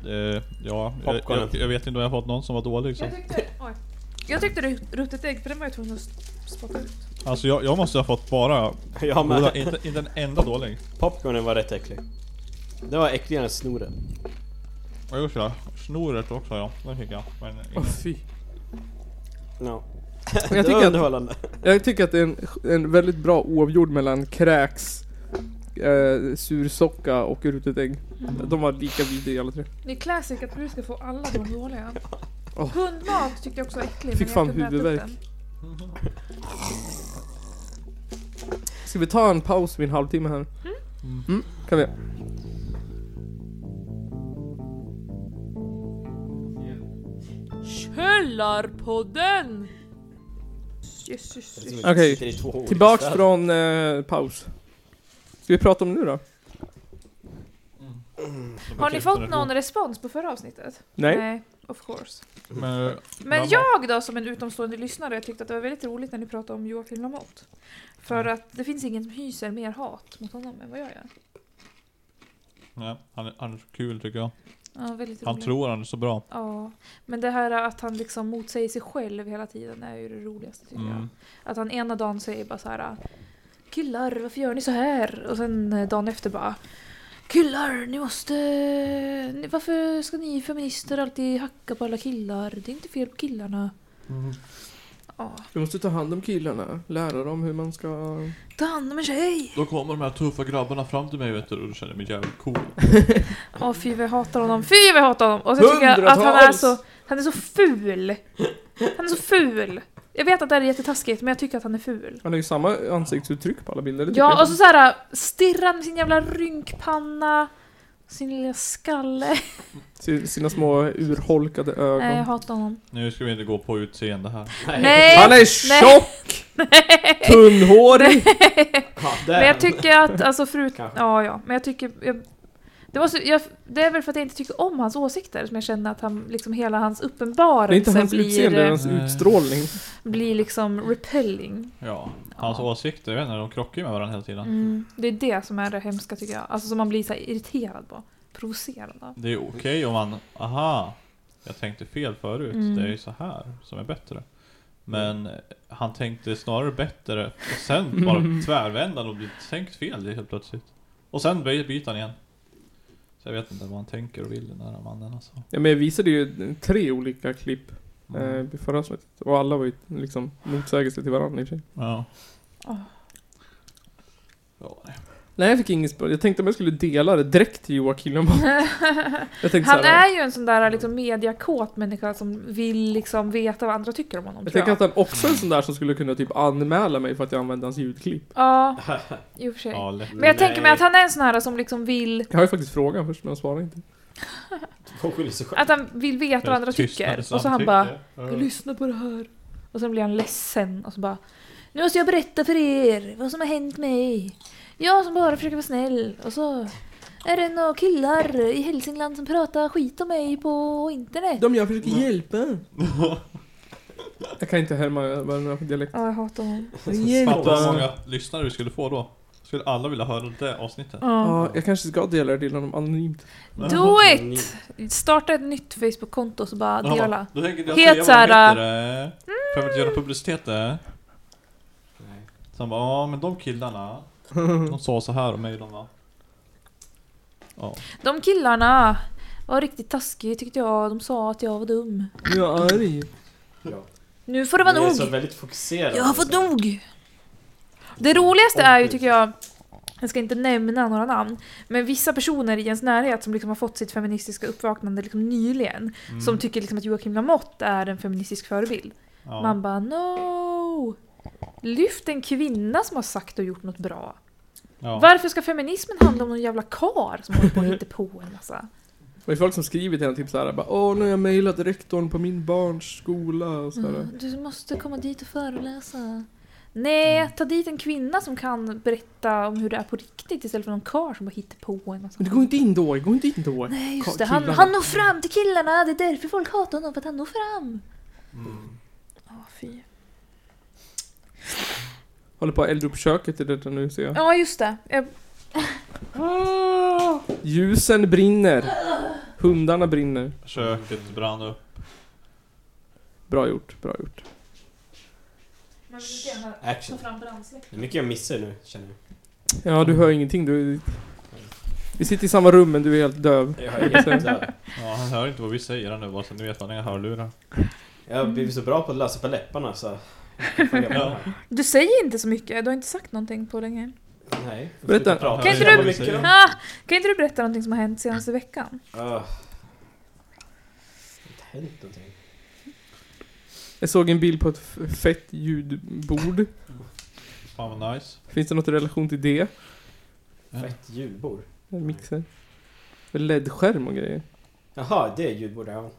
ja, jag, Popcornen. jag, jag vet inte om jag har fått någon som var dålig. Så. Jag tyckte, oj. jag tyckte rut- ruttet ägg, för den var jag tvungen att spotta ut. Alltså jag, jag måste ha fått bara Ja, goda, men inte, inte en enda dålig. popcornen var rätt äcklig. Det var äckligare än snoren. Ja just det, snoret också ja. Den fick jag. Men Åh ingen. fy. No. jag det tycker var att- underhållande. Jag tycker att det är en, en väldigt bra oavgjord mellan kräks, eh, sursocka och rutet ägg. De var lika vidriga alla tre. Det är classic att du ska få alla de dåliga. Åh. Hundmat tyckte jag också var äcklig. Fick fan men jag kunde äta upp huvudvärk. den. Ska vi ta en paus vid en halvtimme här? Mm, kan vi. Källarpodden! Yes, yes, yes. Okej. Sitter i två olika Tillbaks städer. från eh, paus. Ska vi prata om nu då? Har ni fått någon respons på förra avsnittet? Nej? of course. Men, eh, Men Mamma. jag då som en utomstående lyssnare tyckte att det var väldigt roligt när ni pratade om Joakim Lamotte. För att det finns ingen som hyser mer hat mot honom än vad jag gör. nej, han, är- han är så kul tycker jag. Ja, väldigt Han roligt. tror han är så bra. Ja, men det här att han liksom motsäger sig själv hela tiden är ju det roligaste tycker jag. Mm. Att han ena dagen säger bara så här Killar, varför gör ni så här? Och sen eh, dagen efter bara Killar, ni måste... ni- Varför ska ni feminister alltid hacka på alla killar? Det är inte fel på killarna. Mhm. Ja, Vi måste ta hand om killarna, lära dem hur man ska... ta hand om en tjej! Då kommer de här tuffa grabbarna fram till mig vet du och då känner jag mig jävligt cool. Åh fy vad jag hatar honom, fy vad jag hatar honom! Och sen tycker jag att han är Hundratals! så, han är så ful! Han är så ful! Jag vet att det här är jättetaskigt men jag tycker att han är ful. Han har ju samma ansiktsuttryck på alla bilder, det tycker Ja, jag. och så såhär stirrar med sin jävla rynkpanna, sin lilla skalle. Sin- Sina små urholkade ögon. Nej, jag hatar honom. Nu ska vi inte gå på utseende här. Nej! Han är tjock! Tunnhårig! Ja, Men jag tycker att, alltså förut... Kanske. Ja, ja, men jag tycker... Jag, det, var så, jag, det är väl för att jag inte tycker om hans åsikter som jag känner att han, liksom hela hans Det är inte uppenbarelse hans blir, eh, utseende, det är hans Nej. utstrålning. blir liksom repelling. Ja. Hans åsikter, jag vet inte, de krockar ju med varandra hela tiden. Mm. Det är det som är det hemska tycker jag. Alltså som man blir så här irriterad på. Provocerad av. Det är okej om man, aha, jag tänkte fel förut. Mm. Det är ju så här som är bättre. Men eh, han tänkte snarare bättre och sen bara tvärvända och bli tänkt fel det helt plötsligt. Och sen by- byter han igen. Så jag vet inte vad han tänker och vill den där mannen alltså. Ja, men jag visade ju tre olika klipp Mm. eh, i förra avsnittet. Och alla var ju liksom motsägelser till varandra i och för sig. Ja. Åh. Ja, nej. Nej, jag fick ingen spö. Jag tänkte om jag skulle dela det direkt till Joakim Lamotte. Jag tänkte Han så här, är ju en sån där liksom, mediakåt människa som vill liksom veta vad andra tycker om honom. Jag tror tänker att han också är en sån där som skulle kunna typ anmäla mig för att jag använde hans ljudklipp. Ja, i och för sig. Ja, lätt. Men jag tänker mig Nej. att han är en sån här som liksom vill, Jag har ju faktiskt frågan först, men han svarar inte. Hon skyller sig själv. att han vill veta vad andra tycker. Tystnad Och så han samtycke. bara Ja. Jag lyssnar på det här. Och sen blir han ledsen och så bara Nu måste jag berätta för er vad som har hänt mig. Jag som bara försöker vara snäll och så är det några killar i Hälsingland som pratar skit om mig på internet. De jag försöker hjälpa. Jag kan inte härma eh, vad den har för dialekt. Ja, jag hatar honom. Fatta hur många lyssnare vi skulle få då. Skulle alla vilja höra det avsnittet? Ja, jag kanske ska dela det till honom anonymt. Do it! Starta ett nytt Facebook-konto så bara Jaha, dela. Då tänker jag säga Helt så vad de här, äh, heter det. För att göra publicitet det. Så han bara, ja men de killarna. De sa så här om mig de va. Ja. De killarna var riktigt taskiga tyckte jag. De sa att jag var dum. Nu är jag arg. Nu får det vara Ni är nog! så väldigt fokuserade. Jag har fått nog! Det roligaste är ju, tycker jag, jag ska inte nämna några namn, men vissa personer i ens närhet som liksom har fått sitt feministiska uppvaknande liksom nyligen, Mm. som tycker liksom att Joakim Lamotte är en feministisk förebild. Ja. Man bara no! Lyft en kvinna som har sagt och gjort något bra. ja. Varför ska feminismen handla om någon jävla kar som håller på och hittar på en massa? Det är folk som skriver till henne typ såhär bara Åh, nu har jag mejlat rektorn på min barns skola och sådär. Mm, Du måste komma dit och föreläsa. Nej, ta dit en kvinna som kan berätta om hur det är på riktigt istället för någon karl som bara hittar på en massa. Men det går inte in då, det går inte in då. Nej Ka- just det, han, killarna. han når fram till killarna! Det är därför folk hatar honom, för att han når fram! Mm. Ja, fy. Håller på att elda upp köket i detta nu ser jag. Ja, just det. Jag, Ah, ljusen brinner. Hundarna brinner. Köket brann upp. Bra gjort, bra gjort. man vill gärna Action. fram brandsläckare. Det är mycket jag missar nu, känner jag. Ja, du hör ingenting. Du... Vi sitter i samma rum men du är helt döv. Jag har helt död. Ja, han hör inte vad vi säger han nu bara så nu vet han inga hörlurar. Jag har blivit så bra på att lösa på läpparna så... Jag får jobba med det här. Du säger inte så mycket, du har inte sagt någonting på länge. Nej. jag får Berätta. sluta prata. Kan Jag inte jobbar du- mycket då. Ah, kan inte du berätta någonting som har hänt senaste veckan? Ah. Det har inte hänt någonting. Jag såg en bild på ett f- fett ljudbord. Fan vad nice. Finns det något i relation till det? Fett julbord. En mixer? LED-skärm och grejer. Jaha, det är julbord, ja.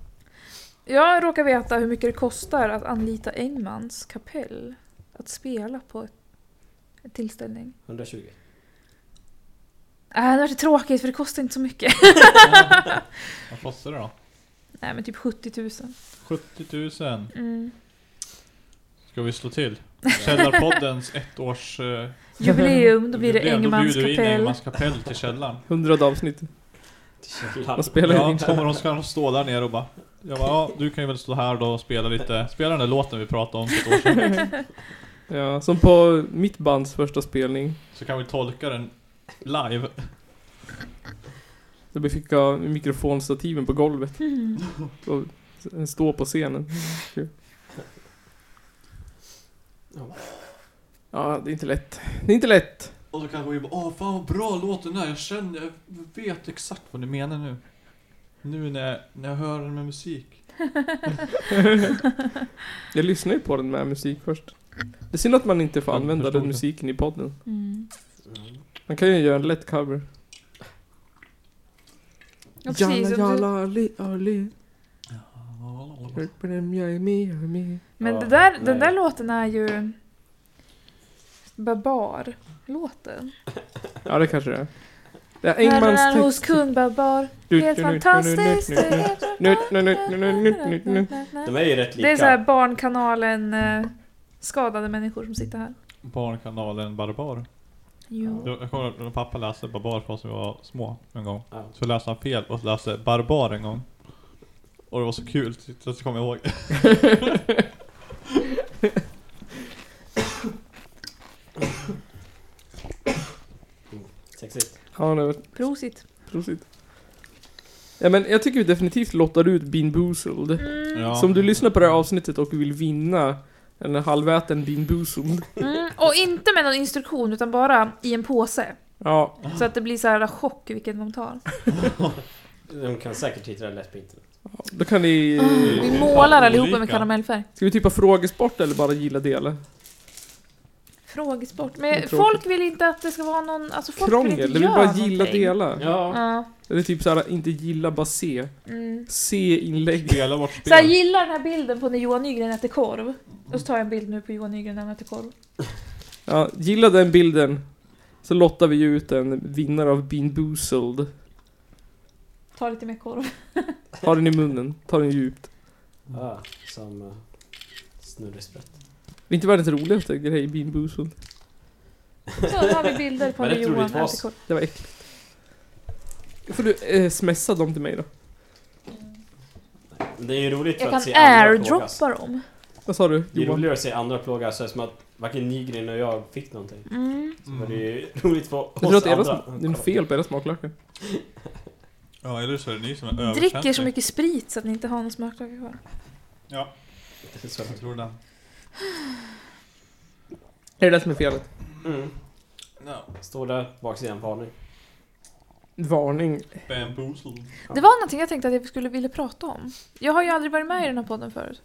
Jag råkar veta hur mycket det kostar att anlita Engmans kapell. Att spela på ett, en tillställning. 120. Äh, det var tråkigt för det kostar inte så mycket. Vad kostar det då? Nej men typ 70 000. 70 000. Mm. Ska vi slå till? Källarpoddens ettårs... eh, Jubileum, då blir det jubileum. Engmans Då bjuder vi in kapell. Engmans kapell till källaren. 100 avsnitt. Vad spelar Ja, in. kommer de ska de stå där nere och bara... Jag bara, ja, du kan ju väl stå här då och spela lite. Spela den där låten vi pratade om för ett år sedan. Ja, som på mitt bands första spelning. Så kan vi tolka den live. Då fick jag mikrofonstativen på golvet. Mm. Och en stå på scenen. Ja. Ja, det är inte lätt. Det är inte lätt. Och då kanske vi bara åh fan vad bra låten är, jag känner, jag vet exakt vad ni menar nu. Nu när jag, när jag hör den med musik. Jag lyssnar ju på den med musik först. Det är synd att man inte får Jag använda förstår den det. musiken i podden. Mm. Mm. Man kan ju göra en lätt cover. Ja, precis, om du, ali, ali. Jag är med, jag är med. men Ja, det där, nej. den där låten är ju... Babar-låten. Ja, det kanske det är. Det är Engmans Herrar hos text. kung Babar. Du- Helt du- du- du- du- fantastiskt. du- det du- är du- helt nu- nu- nu- nu- nu- nu- nu- De är ju rätt lika. Det är så här Barnkanalen eh, skadade människor som sitter här. Barnkanalen Barbar. Jo. Jag jag kommer ihåg när pappa läste Barbar från som vi var små en gång. Ja. Så läste han fel och läste Barbar en gång. Och det var så kul, så så kom jag Mm. ihåg. Sexigt. Ja, det var Prosit. prosit. Ja, men jag tycker vi definitivt lottar ut Bean Boozled. Mm. Ja. Så om du lyssnar på det här avsnittet och vill vinna en halväten Bean Boozled. Mm. Och inte med någon instruktion utan bara i en påse. Ja, Så att det blir så här chock vilken de tar. De kan säkert hitta det lätt på internet. då kan ni... Mm. Vi målar fan allihopa med olika. karamellfärg. Ska vi typa frågesport eller bara gilla dela? Frågesport. Det är Men tråkigt. folk vill inte att det ska vara någon... Alltså folk vill Krångel, inte det vill göra bara gilla någonting. dela. Ja. Ja. Eller typ såhär, inte gilla, bara se. Mm. Se inlägg. Spela vårt Så jag spel. gillar den här bilden på när Johan Nygren äter korv. Och så tar jag en bild nu på Johan Nygren när han äter korv. Ja, gilla den bilden. Så lottar vi ut en vinnare av Bean Boozled. Ta lite mer korv. Ta den i munnen, ta den djupt. Ah, som uh, snurresprätt. Det är inte världens roligaste grej, Bean Boozled. Så har vi bilder på Men när det tror Johan inte var äter oss. korv. Det var äckligt. Får du eh, smsa dem till mig då? Men Det är ju roligt Jag för att kan se andra plågas. airdroppa dem. Vad sa du? Det är Johan? roligare att se andra plågas så som att varken Nygren och jag fick någonting. Mm. Men Mm. det är ju roligt för oss Jag tror att era andra. smak- det är något fel på era smaklökar. Ja, eller så är det ni som är Dricker så överkänsliga. mycket sprit så att ni inte har någon smaklökar kvar. Ja, Så. jag tror det. Är det det som är felet? Mm. No. Står där, baksidan, varning. Varning. Bamboozled. Det var någonting jag tänkte att jag skulle vilja prata om. Jag har ju aldrig varit med i den här podden förut.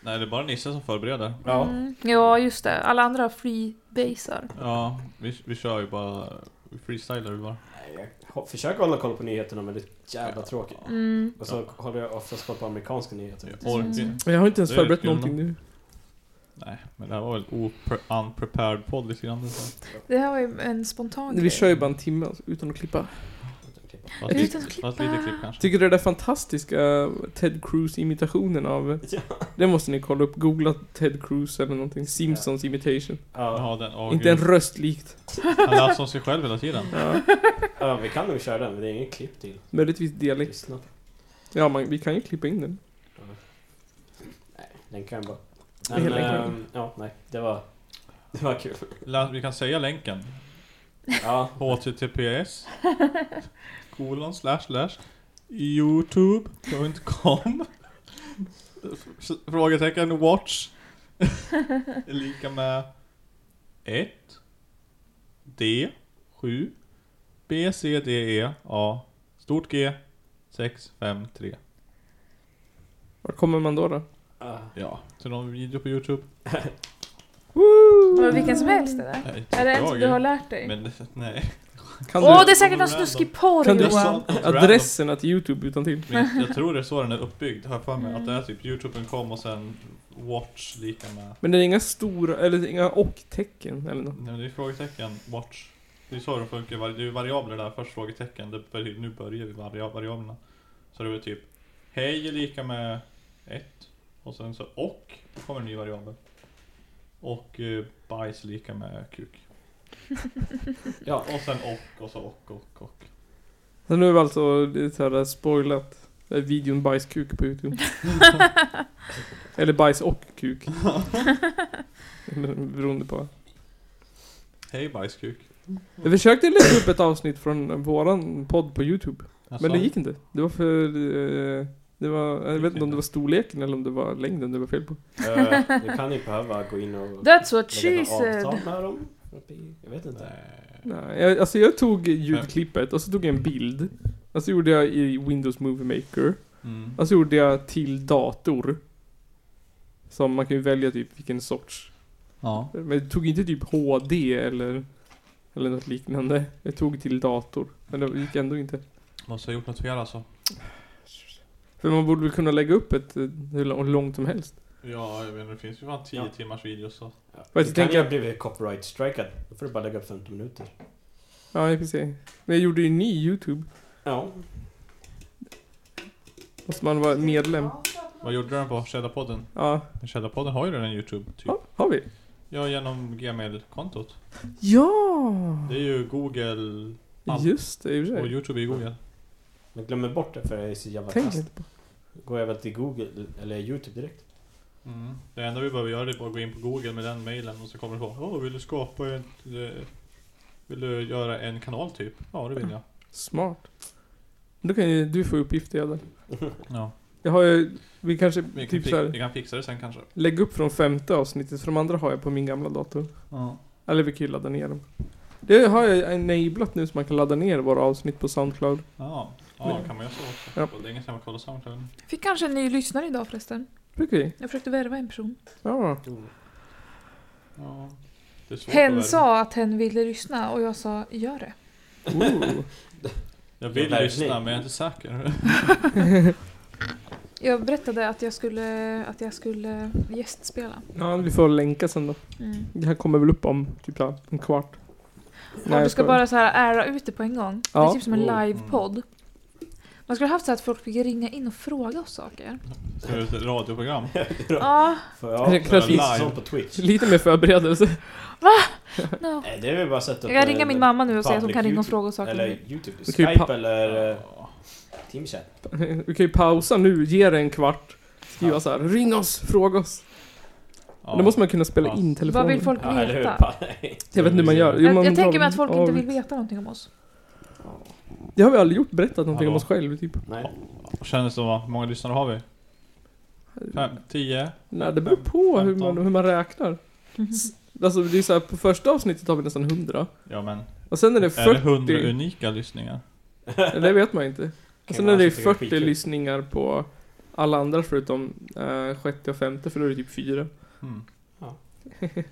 Nej, det är bara Nisse som förbereder. Ja. Mm. Ja, just det. Alla andra freebasar. Ja, vi, vi kör ju bara vi freestylar ju bara. Nej, Jag ho- försöker hålla koll på nyheterna men det är jävla tråkigt. Mm. Och så håller jag oftast koll på amerikanska nyheter. Jag orkar inte. Jag har inte ens Det är förberett kul, någonting nu. Nej, men det här var väl opre- unprepared podd lite grann. Fast, Det här var ju en spontan Vi kör ju bara en timme alltså, utan att klippa. Utan lite- att fast klippa. lite klipp kanske. Tycker du den där fantastiska Ted Cruz-imitationen av... Ja. Den måste ni kolla upp. Googla Ted Cruz eller någonting. Simpsons imitation. Ja, Ja, den, åh, Inte en gud. röst likt. Han läser om sig själv hela tiden. Ja. ja, vi kan nog köra den, men det är ingen klipp till. Möjligtvis dialekt. Lyssna. Ja, man, vi kan ju klippa in den. Den kan bara... är Men, helt enkelt. ehm, ja, nej, det var... Det var kul. Lä- Vi kan säga länken. Ja, https kolon slash slash youtube.com S- Frågetecken watch är lika med 1 D 7 B C D E A Stort G 6 5 3 Var kommer man då då? ah, Ja, till någon video på youtube? Men vilken som helst eller? Nej, inte Är det en jag som ju. du har lärt dig? Men nej. Kan Åh, du det är säkert någon Random. snuskig porr Kan du- Johan! Sånt något random. adresserna till Youtube utan till? Men jag tror det är så den är uppbyggd, har jag för mig. Mm. Att det är typ youtube.com och sen watch lika med... Men det är inga stora, eller inga och-tecken eller något. Nej men det är frågetecken, watch. Det är så det funkar, var- det är ju variabler där. Först frågetecken, det börjar, nu börjar vi varia, variablerna. Så det är typ hej är lika med 1. Och sen så och, då kommer en ny variabel. Och eh, bajs är lika med kuk. ja. Och sen och, och så och, och, och. Så nu är vi alltså lite såhär spoilat. Det är videon bajskuk på Youtube. eller bajs och kuk. Eller Beroende på. Hej bajskuk. Jag försökte lägga upp ett avsnitt från våran podd på Youtube. Alltså, Men det gick inte. Det var för... eh, Det var, jag Gick vet inte om inte. det var storleken eller om det var längden det var fel på. eh, du kan ju behöva gå in och... That's what lägga she ett said! avtal med dem. Jag vet inte. Nej. Nej, jag, alltså jag tog ljudklippet och så tog jag en bild. Och så gjorde jag i Windows Movie Maker. Mm. Och så gjorde jag till dator. Som man kan ju välja typ vilken sorts. Ja. Men jag tog inte typ HD eller, eller något liknande. Jag tog till dator. Men det gick ändå inte. Måste ha gjort något fel alltså. För man borde väl kunna lägga upp ett eh, hur lång- långt som helst. Ja, jag vet inte, det finns ju fan 10 Ja. timmars videos så. Ja. Vad Du kan jag tänker- ju ha blivit copyright strikad. Då får du bara lägga upp 15 minuter. Ja, jag får se. Men jag gjorde ju ny YouTube. Ja. Måste man vara medlem. Vad gjorde du den på? Cheddarpodden? Ja, Men Cheddarpodden har ju redan en YouTube typ. ja har vi. Ja, genom Gmail-kontot. Ja! Det är ju Google Ja. Just det, i och för och sig. Youtube är ju Google. Men glömmer bort det för jag är så jävla Tänk kass. inte på. Går jag väl till Google eller Youtube direkt? Mm. Det enda vi behöver göra är bara att gå in på Google med den mailen och så kommer det på Åh, vill du skapa en... eh, Vill du göra en kanal typ? Ja, det vill jag. Smart. Då kan ju du få uppgifter Edel. Ja. Jag har ju, vi kanske Vi kan, typ fi- vi såhär, kan fixa det sen kanske. lägg upp från femte avsnittet, för de andra har jag på min gamla dator. Ja. Eller vi kan ju ladda ner dem. Det har jag enablat nu så man kan ladda ner våra avsnitt på Soundcloud. Ja, kan man göra så också. Ja. Det är länge sedan man kollade Soundcloud. Fick kanske en ny lyssnare idag förresten. Brukar vi? Jag försökte värva en person. Ja. Mm. Ja. Det är svårt att Hen välja. sa att hen ville lyssna och jag sa gör det. Ooh. Jag vill Värvning. lyssna men jag är inte säker. Jag berättade att jag skulle, att jag skulle gästspela. Ja, vi får länka sen då. Mm. Det här kommer väl upp om typ såhär en kvart. och du jag ska skojar. bara så här ära ut det på en gång. Det Ja. är typ som en Oh, Mm. livepodd. Man skulle haft så här att folk fick ringa in och fråga oss saker. Det är ett radioprogram. Ja, För Det är ja, klart för vi- live. sånt på Twitch. Lite mer förberedelse. no. Nej, det är väl bara att sätta Jag kan en- ringa min mamma nu och säga att hon public kan ringa och YouTube. fråga oss saker. Eller Youtube, Du kan ju Skype pa- eller eh, Teamchat. Vi kan ju pausa nu, ge det en kvart. Skriva så här, ring oss, fråga oss. Ja. Då måste man kunna spela Ja. in telefonen. Vad vill folk Ja, eller hur? veta? Pa- Jag vet inte hur man gör. Jo, Jag, man jag drar tänker mig att folk inte av- vill veta någonting om oss. Det har vi aldrig gjort, berättat någonting om Hallå? oss själv typ. Nej. Kändes det som, hur många lyssnare har vi? Fem, tio? Nej, det beror på hur man, Femton. hur man räknar. S- Alltså det är så här, på första avsnittet har vi nästan 100. Ja men, Och sen är det är det 40. 100 unika lyssningar? det, vet man inte. Och sen vara är det så tycker det är 40 skitkul. lyssningar på alla andra förutom eh, sjätte och femte, för då är det typ fyra. Mm.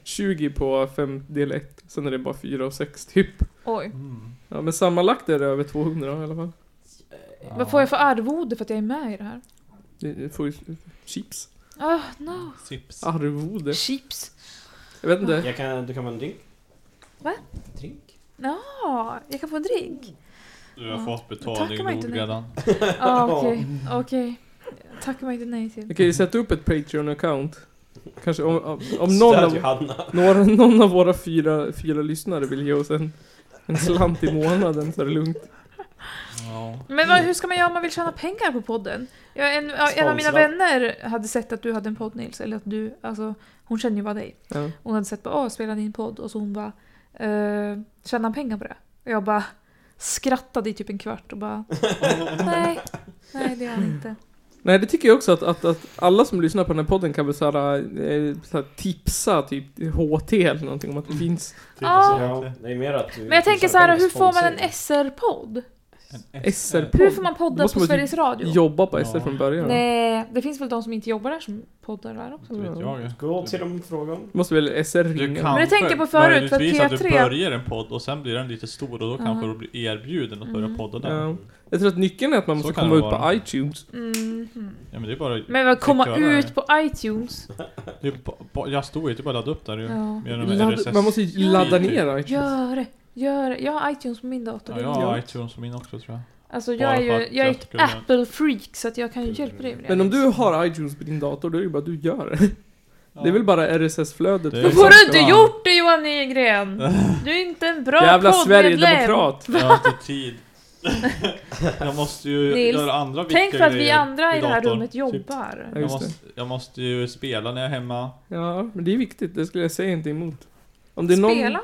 20 på fem, del 1. Sen är det bara fyra och sex typ. Oj. Mm. Ja, men sammanlagt är det över 200 i alla fall. Ja. Vad får jag för arvode för att jag är med i det här? Det- det får ju chips. Oh, no. Sips. Arvode? Chips. Jag vet inte. Jag kan, du kan vara en drink. Va? Drink? Ja, jag kan få en drink. Du har Ja. fått Tackar betalning man inte nog nu. redan. Ja, Ah, okej. Okej. Tackar mig inte nej till. Jag kan ju sätta upp ett Patreon-account. Kanske om, om, om någon, Stöd av, Johanna. några, någon av våra fyra, fyra lyssnare vill ge oss en, en slant i månaden så är det lugnt. Ja. Men vad, hur ska man göra om man vill tjäna pengar på podden? Jag, en, ja, en av mina Sponsra. vänner hade sett att du hade en podd Nils, eller att du, alltså hon känner ju bara dig. Ja. Hon hade sett bara åh, spela din podd och så hon bara eh, tjänar han pengar på det? Och jag bara skrattade i typ en kvart och bara nej, nej det gör han inte. Nej, det tycker jag också att, att, att alla som lyssnar på den här podden kan väl såhär, eh, såhär tipsa typ HT eller någonting om att Mm. det finns typ. Ja. Alltså, Ja, Alltså, det är mer att du Men jag tänker du så här, känner hur får man sponsring. en SR-podd? En SR. Hur får man podda på Måste man typ Sveriges Radio? jobba på Ja. SR från början. Nej, det finns väl de som inte jobbar där som poddar där också? Inte vet jag. Gå till dem och fråga om... Måste väl SR Du ringa? kanske, jag tänker på förut, för att möjligtvis att du P3 börjar en podd och sen blir den lite stor och då kanske Ja. du blir erbjuden att börja Mm. podda där. Ja. Jag tror att nyckeln är att man Så måste kan komma det ut på vara. iTunes. Mhm. Ja men det är bara... Men vad, komma Fick göra ut det. på iTunes? Det är ba, ba, jag stod ju typ bara laddade upp där ju. Ja. Med en Ladda, RSS. man måste ju ladda ner iTunes. Gör det, gör det. Jag har iTunes på min dator. Ja, det är jag inte har jag. iTunes på min också tror jag. Alltså jag Bara är för ju att jag är jag ett skulle- Apple-freak så att jag kan ju hjälpa dig med det. Men om du har iTunes på din dator, då är det ju bara att du gör det. Det är väl bara RSS-flödet. Det är Då ju får du sant, inte det var- gjort det Johan Nygren! Du är inte en bra Jävla poddmedlem. Sverigedemokrat! Jag har inte tid. jag måste ju Nils, göra andra viktiga Tänk på att vi grejer andra i det här datorn. typ. rummet jobbar. Ja, Jag just det. måste, jag måste ju spela när jag är hemma. Ja, men det är viktigt. Det skulle jag säga inte emot. Om det är någon... Spela?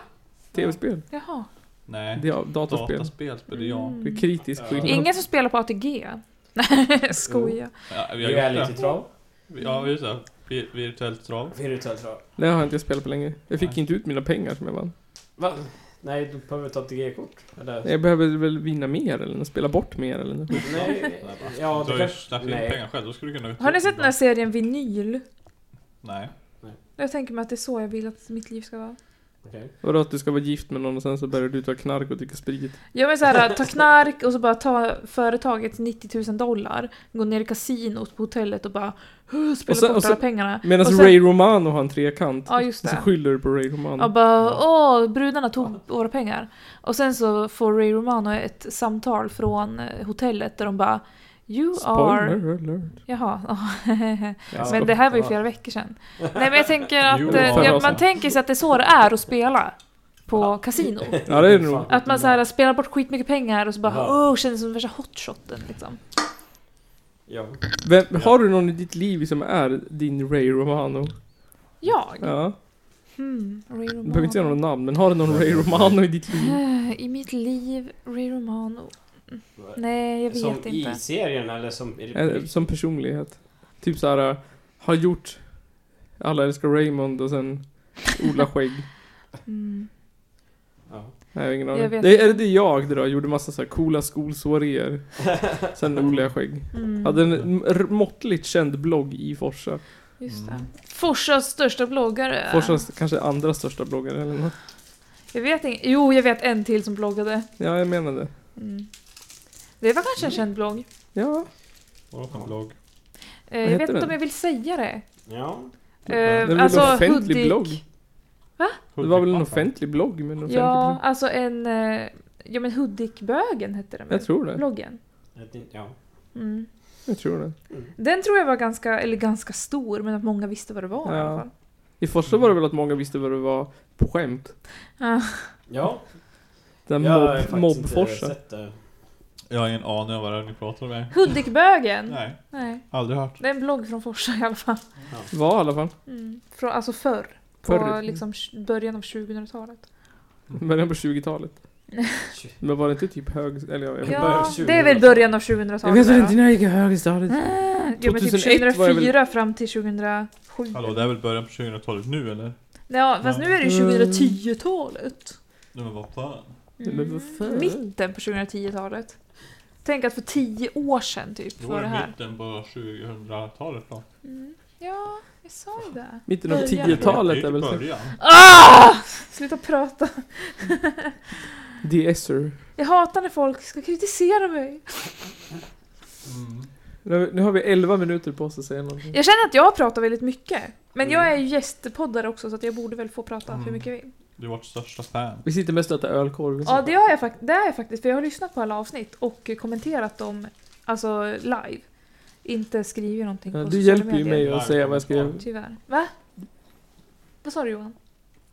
TV-spel. Jaha. Nej. Det är datorspel. Dataspel spelar Mm. jag. Det är kritisk Ja. skillnad. Ingen som spelar på ATG? Nej, jag skojar. Ja, vi har gjort det. Reality-trav. Ja, just det. Vi- Virtuellt trav. Virtuellt trav. Det har jag inte spelat på länge. Jag fick Nej. inte ut mina pengar som jag vann. Va? Nej, du behöver ta ett G-kort. Eller? Jag behöver väl vinna mer eller spela bort mer eller något. Nej, ja du det har ju kanske... snabbt in nej. pengar själv, då skulle du kunna... Har ni sett den här serien Vinyl? Nej. Jag tänker mig att det är så jag vill att mitt liv ska vara. Okej. Vadå att du ska vara gift med någon och sen så börjar du ta knark och dricka sprit? Jag vill såhär, ta knark och så bara ta företagets 90 000 dollar, gå ner i kasinot på hotellet och bara "Huh, spela Och sen- bort och sen- alla pengarna. Medan Och sen- Ray Romano har en trekant. Ja, just Och så det. skyller du på Ray Och Romano. bara åh, brudarna tog våra pengar. Och sen så får Ray Romano ett samtal från eh, hotellet där de bara You are... Spoiler alert. Jaha. Ja. men det här var ju flera veckor sedan. Nej men jag tänker att You eh, are- ja, man tänker sig att det är så det är att spela på kasino. Ja, det är det nog. Fan. Att man så här spelar bort skitmycket pengar och så bara Ja. åh, känner sig som värsta hotshoten liksom. Ja. Vem, har du någon i ditt liv som är din Ray Romano? Jag? Ja. Hmm, Ray Du behöver inte säga Romano. något namn, men har du någon Ray Romano i ditt liv? Eh, I mitt liv, Ray Romano. Nej, jag vet Som inte. i serien eller som... i- Eh, Som personlighet. Typ så här, har gjort Alla älskar Raymond och sen odla skägg. Mm. Ja. Nej, jag har ingen aning. Jag vet Det, inte. eller det är jag det då, gjorde massa så här coola skolsoaréer. Sen odlade jag skägg. Mm. Hade en m- r- måttligt känd blogg i Forsa. Just det. Forsas största bloggare. Forsas kanske andra största bloggare eller något. Jag vet inte. Jo, jag vet en till som bloggade. Ja, jag menar det. Mm. Det var Mm. kanske en känd blogg. Ja. Vadå för blogg? Eh, Vad jag vet heter inte den? om jag vill säga det. Ja. Eh, Det är väl en alltså, offentlig Hudik. blogg? Det var väl en offentlig blogg men en offentlig Ja, blogg. alltså en... eh, Ja men Hudikbögen hette den väl? Jag tror det. Bloggen. Ett in- Ja. Mm. Jag tror det. Den tror jag var ganska, eller ganska stor, men att många visste vad det var i Ja. alla fall. I Forsa var det väl att många visste vad det var på skämt. Ja. Ja. Den jag har faktiskt mobb, inte mobbforsa. sett det. Jag har ingen aning om vad det är ni pratar om. jag- Hudikbögen? Nej, Nej. aldrig hört. Det är en blogg från Forsa i alla fall. Var i alla fall. Mm. Från, alltså förr. På Förr. liksom tj- början av 2000-talet. Början på 20-talet. Men var det inte typ hög... Eller jag, jag, Ja, ja, Ja, början av det är väl 2000-talet. början av jag 2000-talet. vet där, inte när jag gick i högstadiet. va? Ja men typ 2001 var jag 2004 väl- fram till 2007. Hallå, det är väl början på 2000-talet nu eller? Ja, fast nu är det Mm. 2010-talet. Nu men vad fan? Men vad fan? Mm. Mitten på 2010-talet. Tänk att för 10 år sedan typ Då var är det det här. mitten på 2000-talet då. Mm. Ja, jag sa ju det. Mitten av Början. 10-talet är väl... så. så- början. Ah! Sluta prata. The Esser. Jag hatar när folk ska kritisera mig. Mm. Nu har vi- Nu har vi 11 minuter på oss att säga någonting. Jag känner att jag pratar väldigt mycket. Men Mm. jag är ju gästpoddare också så att jag borde väl få prata hur Mm. mycket jag vill. Du är vårt största fan. Vi sitter mest och äter ölkorv. Ja, det har jag, fak- det har jag faktiskt. För jag har lyssnat på alla avsnitt och kommenterat dem alltså live. Inte skrivit någonting på Ja, Du sociala hjälper ju medier. mig att säga vad jag ska göra. Tyvärr. Va? Vad sa du Johan?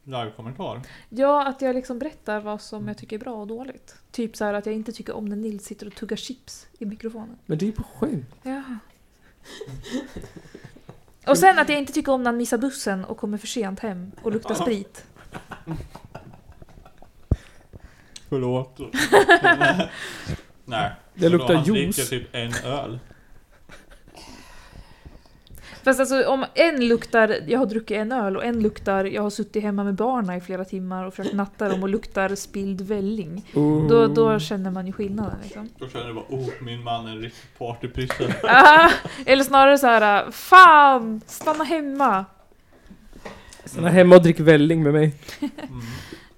Live-kommentar. Ja, att jag liksom berättar vad som jag tycker är bra och dåligt. Typ så här att jag inte tycker om när Nils sitter och tuggar chips i mikrofonen. Men det är på skämt. Ja. Och sen att jag inte tycker om när han missar bussen och kommer för sent hem och luktar sprit. Förlåt. Nej. Det luktar Han dricker juice. typ en öl. Fast alltså om en luktar jag har druckit en öl och en luktar jag har suttit hemma med barna i flera timmar och försökt natta dem och luktar spilld välling. Då, Mm. då känner man ju skillnaden liksom. Då känner jag bara oh, min man är en riktig partypryssel. Ah, eller snarare så här, fan, stanna hemma. Stanna hemma och drick välling med mig. Mm.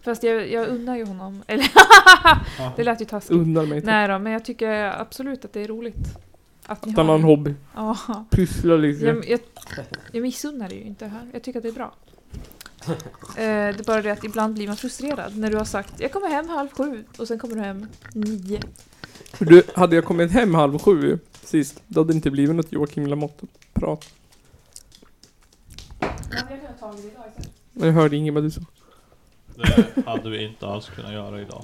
Fast jag, jag unnar ju honom. Eller Ja. det lät ju taskigt. Unnar mig tack. Nej då, men jag tycker absolut att det är roligt. Att ni Att han har en har... hobby. Ja. Pyssla lite. Jag, jag, jag missunnar det ju inte här. Jag tycker att det är bra. Eh, det är bara det att ibland blir man frustrerad när du har sagt jag kommer hem halv sju och sen kommer du hem nio. För Du, hade jag kommit hem halv sju sist, då hade det inte blivit något Joakim Lamotte-prat. Men jag hörde inget vad du sa. Det hade vi inte alls kunnat göra idag.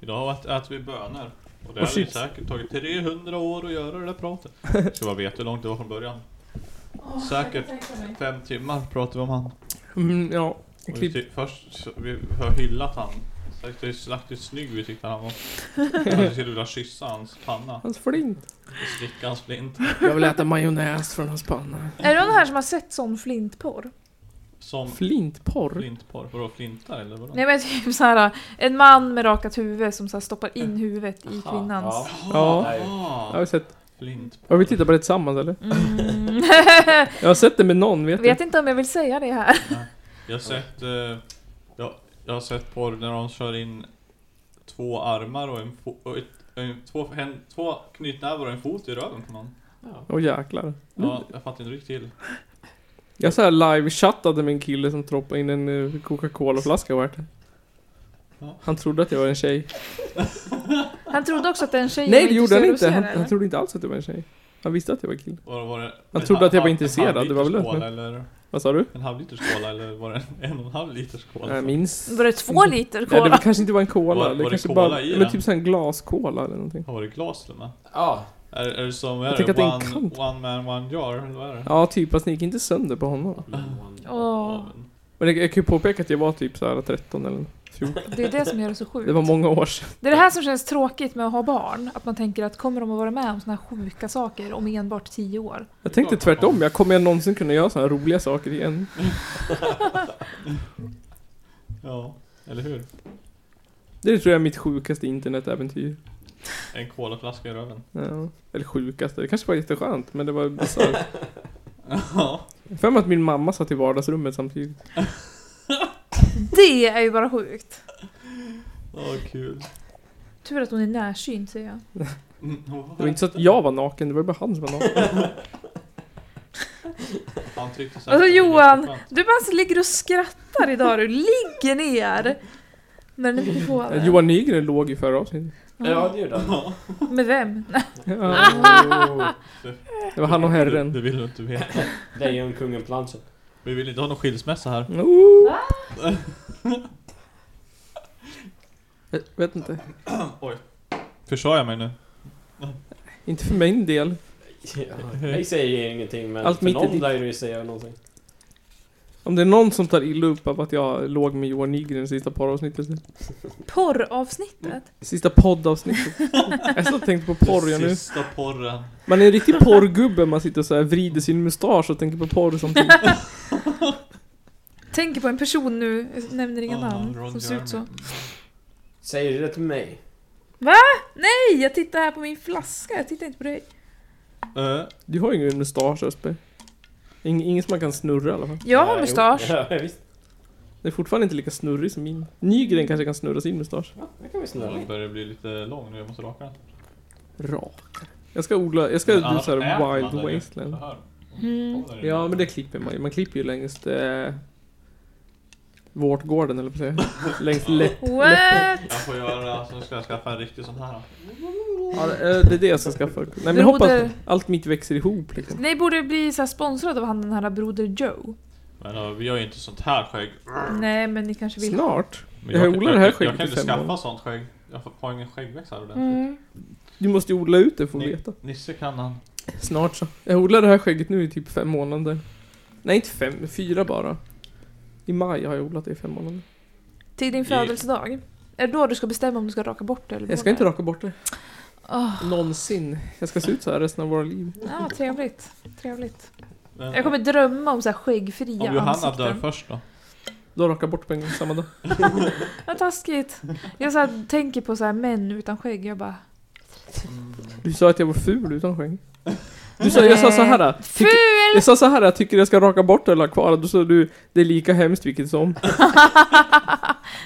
Idag ät- äter vi bönor. Och det Och hade ju chips. säkert tagit 300 år att göra det där pratet. Ska bara veta hur långt det var från början. Säkert fem timmar pratade vi om han. Mm, ja. Och vi Klipp. ty- först så, vi har hyllat han. Sagt hur slakt hur snygg vi tyckte han var. Jag skulle vilja kyssa hans panna Hans flint. och slicka hans flint. Jag vill äta majonnäs från hans panna. Är det någon här som har sett sån flintporr? Som Flintporr? flintporr. Vadå flintar eller vadå? Nej men typ så här en man med rakat huvud som så här stoppar in huvudet i kvinnans. Ja. Jag Ah, har sett. flintporr. Har vi tittat på det tillsammans eller? Mm. Jag har sett det med någon, vet, Vet inte om jag vill säga det här. Jag har sett, eh, jag, jag har sett porr när de kör in två armar och en fo- och ett, en, två, en, två knytnävar och en fot i röven på någon. du? Åh jäklar. Ja, jag fattar inte riktigt till. Jag så här live-chattade med en kille som droppade in en eh, Coca-Cola-flaska vart. Ja. Han trodde att jag var en tjej. Han trodde också att en tjej Nej var det gjorde han inte! intresserad Han, av att se det, han trodde inte alls att jag var en tjej. Han visste att jag var en kille. Var, var det, Jag trodde att jag var en- en intresserad, halv det var väl liters det, skål men- eller Vad sa du? en halv liters skåla eller var det en, en och en halv liters skåla? Jag eller? minns... Var det två liter Nej, det cola? var kanske inte var en cola. Var- det var det kanske cola bara... i Men den? typ såhär en glascola eller någonting. Har du glas till och med? Ja. Är, är det som, Jag är tycker det att det är en one, kant. one man one jar eller vad är det? Ja, typ. Fast den gick inte sönder på honom. Åh, men- Men jag, jag kan ju påpeka att jag var typ såhär 13 eller 14. det är det som gör det så sjukt. Det var många år sedan. Det är det här som känns tråkigt med att ha barn. Att man tänker att kommer de att vara med om såna här sjuka saker om enbart tio år? Jag tänkte tvärtom. Jag kommer jag någonsin kunna göra såna här roliga saker igen? Ja, eller hur? Det tror jag är mitt sjukaste internetäventyr. En colaflaska i röven. Ja. Eller sjukaste. Det kanske var jätteskönt, men det var bisarrt. Ja. Jag för mig att min mamma satt i vardagsrummet samtidigt. Det är ju bara sjukt. Åh, kul. Tur att hon är närsynt säger jag. Mm, Det var inte så att jag var naken, det var bara han som var naken. Han tyckte säkert Alltså att det var Johan, jätteskönt. du bara ligger och skrattar idag. Du ligger ner med den här mikrofonen. Eh, Johan Nygren låg i förra avsnittet. Ja, det gjorde han. Ja. Med vem? Ja. Oh. Det var han och Det, herren. det vill du inte veta. Lejonkungen planschen. Vi vill inte ha någon skilsmässa här. Oh. Jag vet inte. Försade jag mig nu? Inte för min del. Jag säger ingenting men Allt för mitt är någon ditt. lär ju säga någonting. Om det är någon som tar illa upp av att jag låg med Johan Nygren i sista porravsnittet. Porravsnittet? Sista poddavsnittet. Jag satt och tänkte på porr jag nu. Sista porren. Man är en riktig porrgubbe om man sitter och så här vrider sin mustasch och tänker på porr samtidigt. Tänker på en person nu, jag nämner inga Ah, namn, Ron som ser ut så. Jeremy. Säger du det till mig? Nej, jag tittar här på min flaska, jag tittar inte på dig. Eh, Du har ju ingen mustasch Östberg. Ing- Ingen som man kan snurra i alla fall. Jag har Ja, mustasch. jo. Ja, visst. Det är fortfarande inte lika snurrig som min. Nygren kanske kan snurra sin mustasch. Mm. Ja, det kan vi snurra Den lite. börjar bli lite lång nu, jag måste raka den. Rak. Jag ska odla, jag ska Men odla annars äter såhär man wild den ju wasteland. så här. Mm. Håller den ju. Ja men det klipper man ju. Man klipper ju längst... Eh, vårtgården eller på säga. Längst lätt... What? Jag får göra, så ska jag skaffa en riktig sån här. Ja, det eh, det är det jag ska skaffa. Nej men jag hoppas att allt mitt växer ihop liksom. Ni borde bli så här sponsrade av han den här Broder Joe. Men eh, vi gör ju inte sånt här skägg. Nej, men ni kanske vill. Snart. Men Jag odlar det här skägget Jag kan i inte fem år. skaffa sånt skägg. Jag får- har ingen skäggväxt här ordentligt. Mm. Du måste ju odla ut det för att Ni- veta. Nisse kan han. Snart så. Jag odlar det här skägget nu i typ fem månader. Nej inte fem, fyra bara. I maj har jag odlat det i fem månader. Till din I- födelsedag. Är det då du ska bestämma om du ska raka bort det eller Jag ska behålla inte det? raka bort det. Åh, Någonsin. Jag ska se ut så här resten av våra liv. ja, trevligt. Trevligt. Men, Jag kommer drömma om så här skäggfria om Johanna ansikten. dör först då? Då rakar jag bort på en gång samma dag. Vad taskigt. Jag så här, tänker på så här, män utan skägg. Jag bara... Du sa att jag var ful utan skägg. Du sa, jag sa så här. Ful! tycker- Jag sa så här, jag tycker jag ska raka bort det eller ha kvar det. Då sa du, det är lika hemskt vilket som.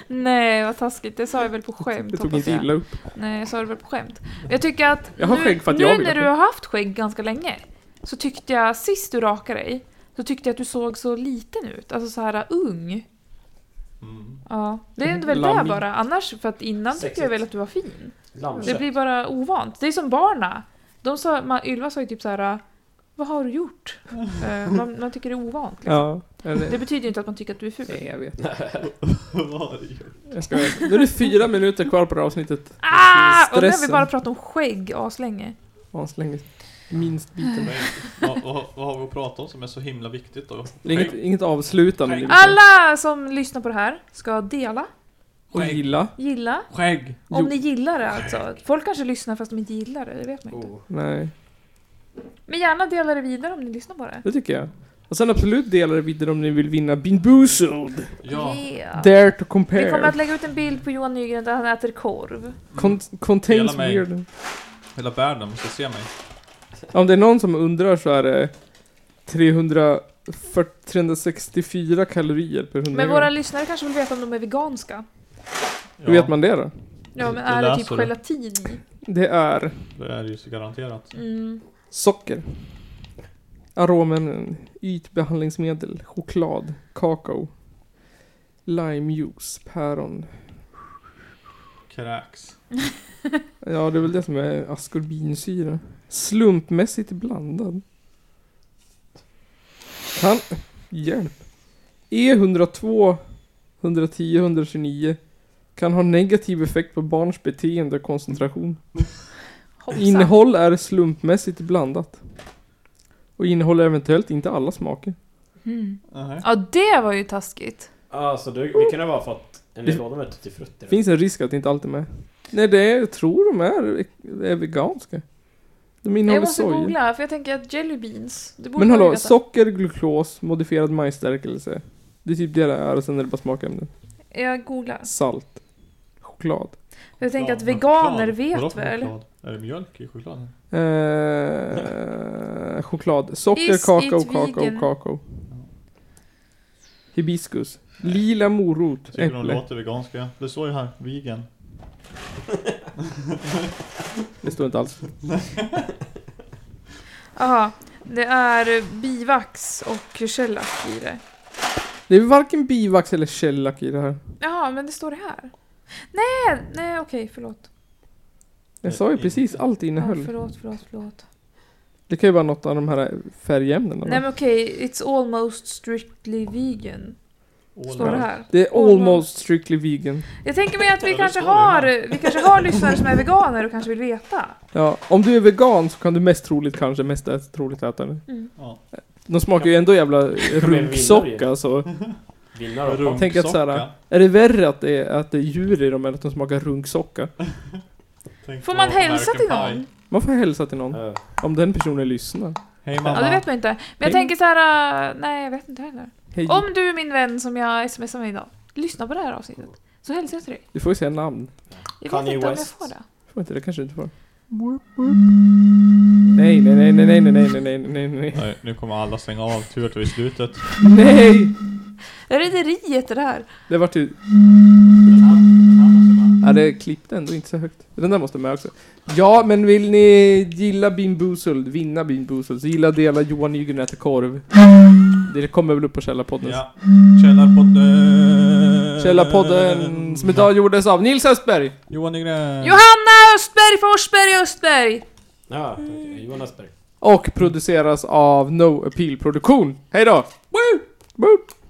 Nej, vad taskigt. Det sa jag väl på skämt. Det tog hoppas inte jag. illa upp. Nej, jag sa det väl på skämt. Jag tycker att Jag har nu, skägg för att nu jag vill ha när du skägg. har haft skägg ganska länge så tyckte jag sist du rakade dig så tyckte jag att du såg så liten ut. Alltså så här ung. Mm. Ja, det är väl det Lamin. bara. Annars, för att innan tyckte jag Sexigt. väl att du var fin. Det Lammkött. blir bara ovant. Det är som barna. De sa, man, Ylva sa ju typ så här. Vad har du gjort? Eh, man, man tycker det är ovant. Liksom. Ja. Eller, Det betyder ju inte att man tycker att du är ful. nej, jag vet. Vad är det? Jag ska, nu är det fyra minuter kvar på det här avsnittet. Ah! Och nu har vi Stressen. bara pratat om skägg aslänge. Aslänge. Minst biten. Men, vad, vad, vad har vi att prata om som är så himla viktigt då? Det är Inget, inget avslutande. liksom. Alla som lyssnar på det här ska dela, Och gilla. gilla, Skägg! om Jo. ni gillar det alltså. Folk kanske lyssnar fast de inte gillar det, det vet man inte. Oh. Nej, Men gärna dela det vidare om ni lyssnar på det. det tycker jag. Och sen absolut dela det vidare om ni vill vinna Bean Boozled. Ja. Yeah. Dare to Vi kommer att compare. lägga ut en bild på Johan Nygren där han äter korv. Con Dela contains mig. weird. Mm. Hela världen måste se mig. Om det är någon som undrar så är det 300, 364 kalorier per 100 Men gram. våra lyssnare kanske vill veta om de är veganska. Ja, Hur vet man det då? Ja, men Det är det typ läser du. gelatin i? Det är Det är ju så garanterat. Mm. socker, aromen, ytbehandlingsmedel, choklad, kakao, limejuice, päron. Kräks. Ja, det är väl det som är askorbinsyra. Slumpmässigt blandad. Kan... Hjälp. E E102, 110, 129 kan ha negativ effekt på barns beteende och koncentration. Hoppsan. Innehåll är slumpmässigt blandat. Och innehåller eventuellt inte alla smaker. Mm. Nej. Ja, det var ju taskigt. Ah, så du, vi kunde bara ha fått en Det- låda med tutti frutti. Finns en risk att det inte alltid är med. Nej, det är, jag tror de är, är veganska. De Jag innehåller måste soja. googla, för jag tänker att jelly beans, det borde Men man ju hallå, veta. socker, glukos, modifierad majsstärkelse. Det är typ det det är och sen är det bara smakämnen. Jag googlar. Salt. Choklad. Jag tänker att Choklad. veganer Choklad. Vadå vet för väl? choklad? Är det mjölk i chokladen? Eh, choklad. Socker, Is kakao, it vegan? kakao, kakao. Hibiskus. Lila morot. Tycker de Äpple. låter veganska? Det står ju här, vegan. Det står inte alls. Jaha, det är bivax och shellac i det. Det är varken bivax eller shellac i det här. Jaha, men det står det här. Nej, nej okej, förlåt. Jag sa ju Nej, precis inte. allt det Ja, innehöll. förlåt, förlåt, förlåt. Det kan ju vara något av de här färgämnena. Nej va? men okej, it's almost strictly vegan. Står det här. Det är almost strictly vegan. Jag tänker mig att vi Ja, det kanske står det här. har, vi kanske har lyssnare som är veganer och kanske vill veta. Ja, om du är vegan så kan du mest troligt kanske, mest ä- troligt äta det. Ja. De smakar ju ändå jävla bli en runksocka vinnare alltså. Vinnare Runk- av Tänk att såhär, är det värre att det är, att det är djur i dem än att de smakar runksocka? Tänk Får på man hälsa American till Pie. någon? Man får hälsa till någon, Eh, om den personen lyssnar. Hej Ja, det mamma. vet man inte. Men jag Hej. tänker så här, äh, nej jag vet inte heller. Hej. Om du är min vän som jag smsar med idag, lyssna på det här avsnittet. Så hälsar jag till dig. Du får ju säga namn. Jag vet Kanye inte om jag West. får det. Får inte det kanske du inte får. Nej, nej, nej, nej, nej, nej, nej, nej, nej, nej, nej. Nej, nu kommer alla stänga av. Tur att vi är i slutet. Nej! Rederiet är det här. Mm. Det vart ju... den här- den här måste man- Är Ja, det klippte ändå inte så högt. Den där måste med också. Ja, men vill ni gilla Bean Boozled, vinna Bean Boozled, så gilla och dela Johan Nygren äter korv. Det kommer väl upp på Källarpodden. Ja. Källarpodden. Källarpodden som idag gjordes av Nils Östberg. Johan Nygren. Johanna Östberg Forsberg Östberg! Ja, okej. Jonas Berg. Och produceras av No Appeal Produktion. Hej då! Woo! Woo!